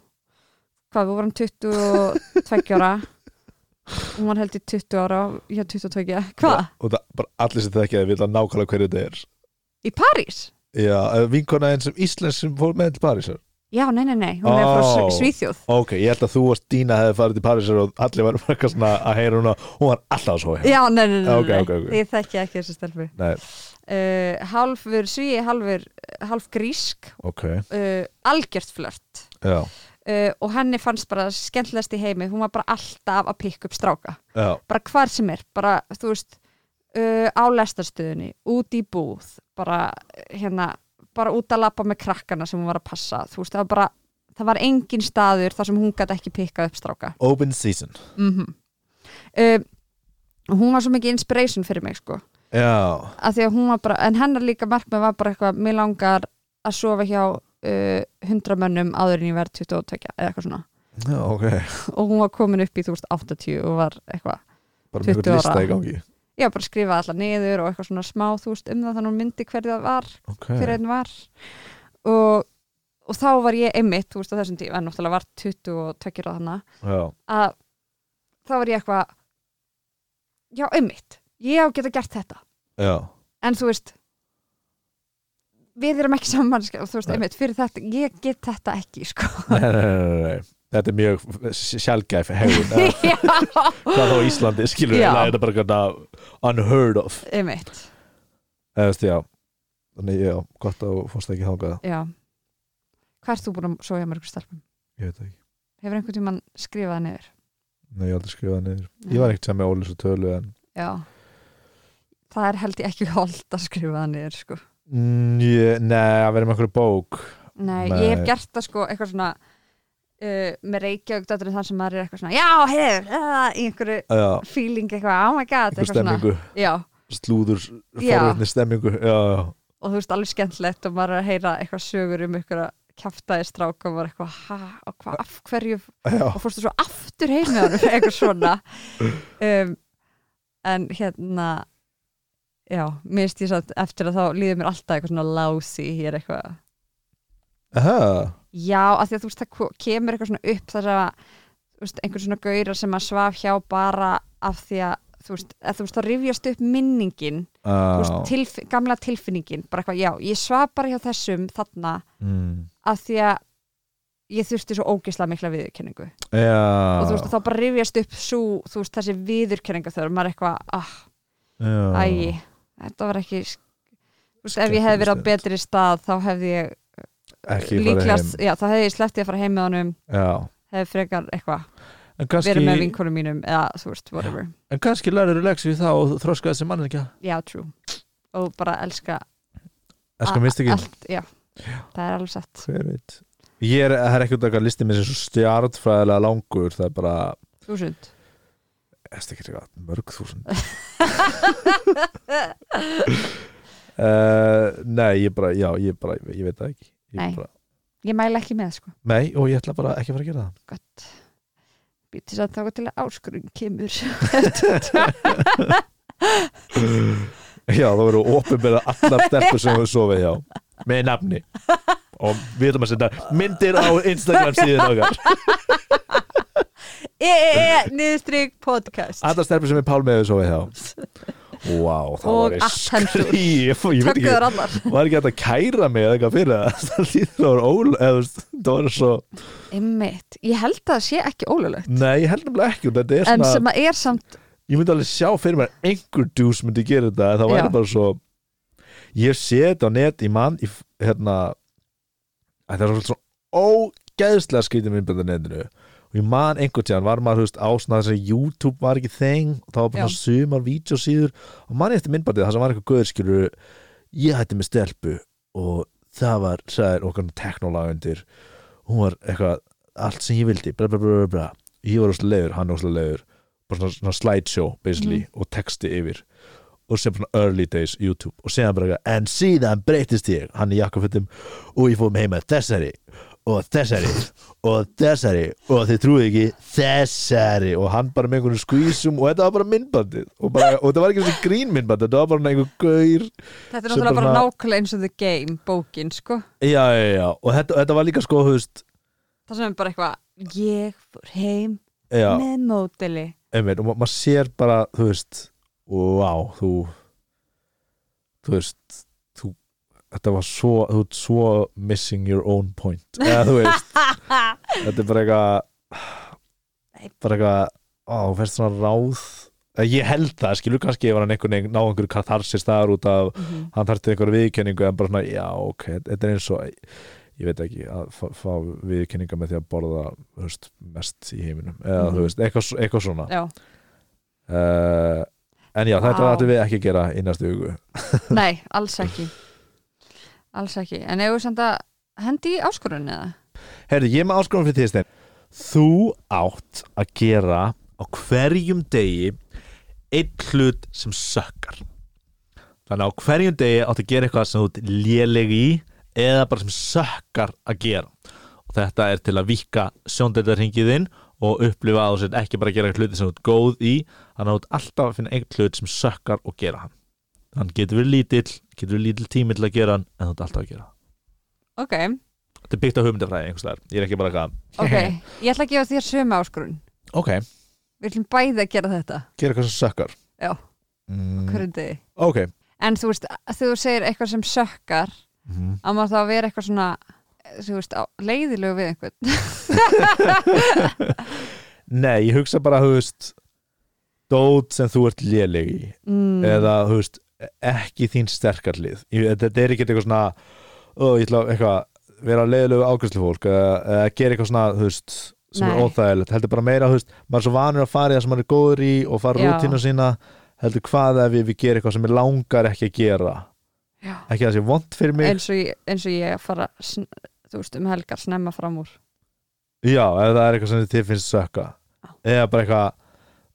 hvað, við vorum 22 ára hún var held í 20 ára já, 22, hvað?
Og það, bara allir sem þekkja það vita nákvæmlega hverju þetta er
Í París?
Já, eh, vinkona einn sem Íslands sem fór með til Parísar
Já, nei, nei, nei, hún er frá
Ó.
Sv- Svíþjóð
Ok, ég held að þú og Stína hefði farið til Parísar og allir varum bara eitthvað svona að heyra hún hún var alltaf svo hérna
Já, nei, nei, nei, nei,
Ok,
nei.
ok, ok.
ég þekki ekki þessi stelpu
Nei,
uh, Halfur svíi, halfur half grísk,
ok,
uh, algjört flört
já,
uh, og henni fannst bara skemmtilegast í heimi hún var bara alltaf að pikka upp stráka
já,
bara hvar sem er, bara þú veist uh, á lestarstöðunni, út í búð bara eh, hérna bara út að lappa með krakkana sem hún var að passa þú veist, það var bara, það var engin staður þar sem hún gæti ekki pikkað upp stráka
open season
mm -hmm. hún var svo mikið inspiration fyrir mig sko,
Já,
af því að hún var bara en hennar líka markmið var bara eitthvað mér langar að sofa hjá uh, 100 mönnum áður en ég verð 22 eða eitthvað svona,
já, ok
og hún var komin upp í þú veist 80 og var eitthvað
Bara
20
með einhvern lista
ára.
í gangi
já, bara skrifa alla niður og eitthvað svona smá þú veist um það þannig hún myndi hverju það var
Ok,
hver einn var og, og þá var ég einmitt þú veist á þessum tíma, en náttúrulega var 22 og þannig
já,
að þá var ég eitthvað já, einmitt, ég á að geta gert þetta
já
en þú veist við erum ekki saman og þú veist,
Nei.
einmitt, fyrir þetta, ég get þetta ekki sko.
Nei, nei, nei, nei, nei Þetta er mjög sjálfgæf hegðun eða
já,
hvað þá á Íslandi, skilur við,
Já.
það er þetta bara gana unheard of,
einmitt
eða veist, já þannig, já, gott að þú fórst ekki þangað
já hvað ert þú búin að sofa hjá mörgur stelpum?
ég veit það ekki,
Hefur einhvern tímann skrifað það niður?
nei, ég hef aldrei skrifað það niður ég var ekkert sem með Ólis og Tölu en
Já Það er held ég ekki holdt að skrifa það niður sko.
mm, ég, nei, að vera með einhverju bók
Nei,
Nei.
ég hef gert það sko eitthvað svona uh, með Reykjavík dætturinn þann sem maður er eitthvað svona já, heyrðu, uh, í einhverju
já,
feeling eitthvað, oh my god
einhver
eitthvað svona.
stemmingu,
Já,
slúður
Já.
forvitni stemmingu, já, já,
og þú veist alveg skemmtilegt og maður er að heyra eitthvað sögur um einhverja kjaftaði strák og maður er eitthvað, ha, og hvað, af hverju
já
og fórstu svo aftur heim með honum eitthvað svona um, en hérna já, minnst ég satt eftir að þá líður mér alltaf eitthvað svona lási hér eitthvað,
Aha,
já, af því að þú veist það ko- kemur eitthvað svona upp þar sem að þú veist, einhvern svona gaurar sem að svaf hjá bara af því að þú veist, að þú veist, þá rifjast upp minningin þú veist,
á,
tilf gamla tilfinningin bara eitthvað, já, ég svaf bara hjá þessum þarna
mm,
af því að ég þurfti svo ógisla mikla viðurkenningu og þú veist,
já
þá bara rifjast upp svo, þú veist, þessi viðurkenninga þörf maður er eitthvað, ah,
já,
ægi þetta var ekki þú veist, ef ég hefði verið á betri stað þá hefði ég
ekki farið
líklegast,
heim.
já, þá hefði ég sleppti að fara heim með honum
já,
hefði frekar eitthvað,
en kannski
verið með vinkonum mínum eða, þú veist, whatever,
En kannski lærir þú leksi við það og þroska þessi mann ekki
já, true og bara elska
Elskar
a-
mistökin.
allt, já, það er alveg satt
sko, Hver veit Ég er, það er ekkert eitthvað listið mér sem svo stjartfræðilega langur Það er bara,
þúsund
ég veist ekki eitthvað, mörg þúsund uh, Nei, ég bara, já, ég bara, ég veit það ekki ég
Nei.
bara,
ég mæla ekki með, sko,
nei, og ég ætla bara ekki að fara að gera það
gott býtis að þá til að áskurinn kemur
Já, það verður ofinbera allar stelpur sem við sofið hjá Með nafni Og við ætlum að setja myndir á Instagram síðan okkar
e, e, e, niðurstrygg podcast
Allar stelpur sem er pálmið hefur sofið hjá Vá, það
Og
var í
attendur.
skrí Ég ég veit ekki,
takkuður allar
var ekki hægt að kæra mig eða eitthvað fyrir það Það líður það var ól eða, þú veist, það var svo,
Einmitt. Ég held að það sé ekki ólulegt
Nei, ég held nefnilega ekki þetta er
en
svona,
sem að er samt
Ég myndi alveg sjá fyrir mér að einhver dús myndi gera þetta en það
Já.
væri bara svo Ég sé þetta á net í mann í, f- hérna, að Það er svo ógeðslega skrítið myndbænd á netinu og ég man einhvern tíðan var maður þú veist, á svona þess að YouTube var ekki þeng og það var
Já.
bara svona sumar vídeosíður og man ég eftir myndbændið það sem var eitthvað guðskilur ég hætti með stelpu og það var, sagði okkar teknolagundir hún var eitthvað allt sem ég vildi, bla bla bla bla, bla. ég var óslega leiður, hann óslega leiður bara svona, svona slideshow basically og texti yfir og sem svona early days YouTube og segja bara eitthvað, en síðan breytist ég hann í jakkafötum og ég fóðum heima þessari og þessari og þessari og þið trúið ekki þessari og hann bara með einhvern skvísum og þetta var bara myndbandið og, bara, og þetta var ekki þessi grín myndbandið þetta var bara svona einhver gaur
þetta er
Sem
náttúrulega bara
bara-
nákvæmlega eins og the game bókin sko
já, já, já, og þetta, þetta var líka sko, þú veist
það sem er bara eitthvað ég fór heim
já,
með mótili
einmitt, og ma- maður sér bara, þú veist wow, þú þú veist þú, þetta var svo, þú ert svo missing your own point eða þú veist, þetta er bara eitthvað bara eitthvað á, þú færst svona ráð Eða ég held það, skilur kannski ef hann einhvern veginn ná einhverju katharsis þar út af
Mhm. Mm.
hann þarf til einhverju viðkenningu en bara svona, já, ok, þetta er eins og ég veit ekki, að fá, fá viðkenninga með því að borða, þú veist, mest í heiminum, eða
Mhm.
þú veist, eitthvað, s- eitthvað svona
Já,
uh, en já, þetta
Vá.
ættum við ekki að gera í næstu hugu
nei, alls ekki alls ekki, en ef við samt að hendi í áskorun eða?
Herðu, ég er með áskonum fyrir tíðstein Þú átt að gera á hverjum degi einn hlut sem sökkar Þannig að á hverjum degi átt að gera eitthvað sem þú ert léleg í eða bara sem sökkar að gera og þetta er til að vika sjóndeldarhingiðinn og upplifa að þú sért ekki bara að gera hluti sem þú ert góð í þannig að þú ert alltaf að finna einn hlut sem sökkar og gera hann hann getur verið lítill, getur verið lítill tími til að gera hann en þú ert alltaf að gera hann.
Ok,
Þetta er byggt á hugmyndafræði einhverslega, ég er ekki bara eitthvað
ok ég ætla að gefa þér sömu áskorun
Ok,
við ætlum bæði að gera þetta
gera eitthvað sem sökkar
Já.
mm,
hverjum degi
Ok
en þú veist, þegar þú segir eitthvað sem sökkar
mm.
að maður þá að vera eitthvað svona þú veist, á- leiðilegu við einhvern
Nei, ég hugsa bara, þú veist Dót sem þú ert léleg í
mm.
Eða, þú veist, ekki þín sterkarlið Þetta er ekki eitthvað svona Ó, ég ætla að eitthvað Vera leiðilegu ágæslu fólk eða, eða gera eitthvað svona, þú veist sem
Nei.
er óþægilegt, heldur bara meira þú veist, maður er svo vanur að fara í það sem maður er góður í og fara
Já.
rútínu sína heldur hvað ef ég, við gera eitthvað sem ég langar ekki að gera
Já.
ekki það sé vond fyrir mig
eins og, ég- eins og ég fara sn- þú veist, um helgar snemma fram úr
Já, ef það er eitthvað sem þið finnst sökka
Já.
eða bara eitthvað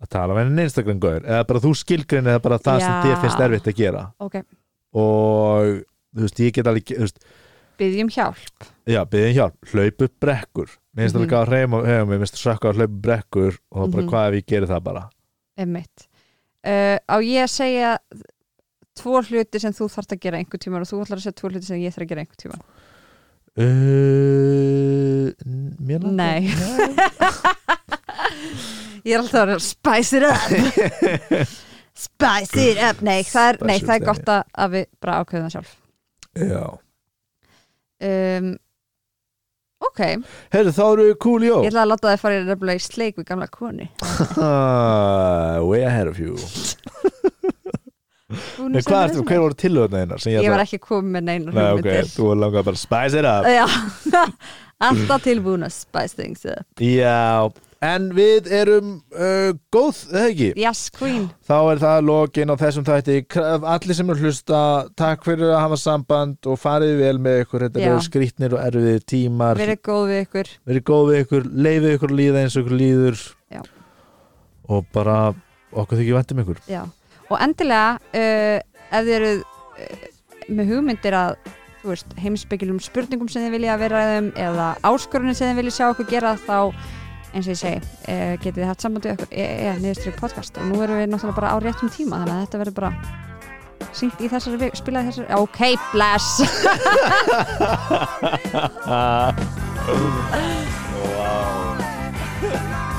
að tala með henni Instagram gaur eða bara þú skilgrinni eða bara það sem
Já.
þið finnst erfitt að gera
ok,
og þú veist, ég get alveg þú veist,
byggjum hjálp
já, byggðin hjálp, hlaupu brekkur mér finnst
Mhm.
alveg að reyma hefum, mér finnst sökka að hlaupu brekkur og bara
Mhm.
hvað ef ég geri það bara
emmitt uh, á ég að segja tvo hluti sem þú þarft að gera einhver tíma og þú ætlar að segja tvo hluti sem ég þarf að gera einhver tíma
uh, Mér langar
Nei.
Nei.
ég er alltaf að vera spice it up spice it up nei, það er, nei,
Spice it
það er
up.
gott að, að við bara ákveðum það sjálf
Já
um, ok, ég
Herru, þá eru við cool, jó
ætla að láta þið fara í nefnilega í sleik við gamla konu
Way ahead of you Nei, hvað ertu, hver voru tilhugna þínar? sem
ég
ætla-
var ekki komið með neina
hérna? Nei, ok,
hugmyndir
þú langar bara að spice it up
Já, alltaf tilbúin að spice things up
Já, en við erum uh, góð, eða ekki?
Yes, queen
Þá er það lokin á þessum þætti Kraf- Allir sem eru að hlusta, takk fyrir að hafa samband og farið vel með ykkur Þetta
Já.
eru skrýtnir og erfiðir tímar
Verið góð við ykkur
Verið góð við ykkur, leifið ykkur að líða eins og ykkur líður
Já.
Og bara okkur þykir vænt um ykkur
Já. Og endilega uh, ef þið eruð uh, með hugmyndir að þú veist, heimsbyggilum spurningum sem þið vilja að vera þeim eða áskorunum sem þið vilja sjá okkur gera þá eins og ég segi, uh, getið þið hatt sambandi við okkur e e niðurstrið podcast og nú erum við náttúrulega bara á réttum tíma þannig að þetta verður bara syngt í þessari viku, spilað í þessari ok, bless
Wow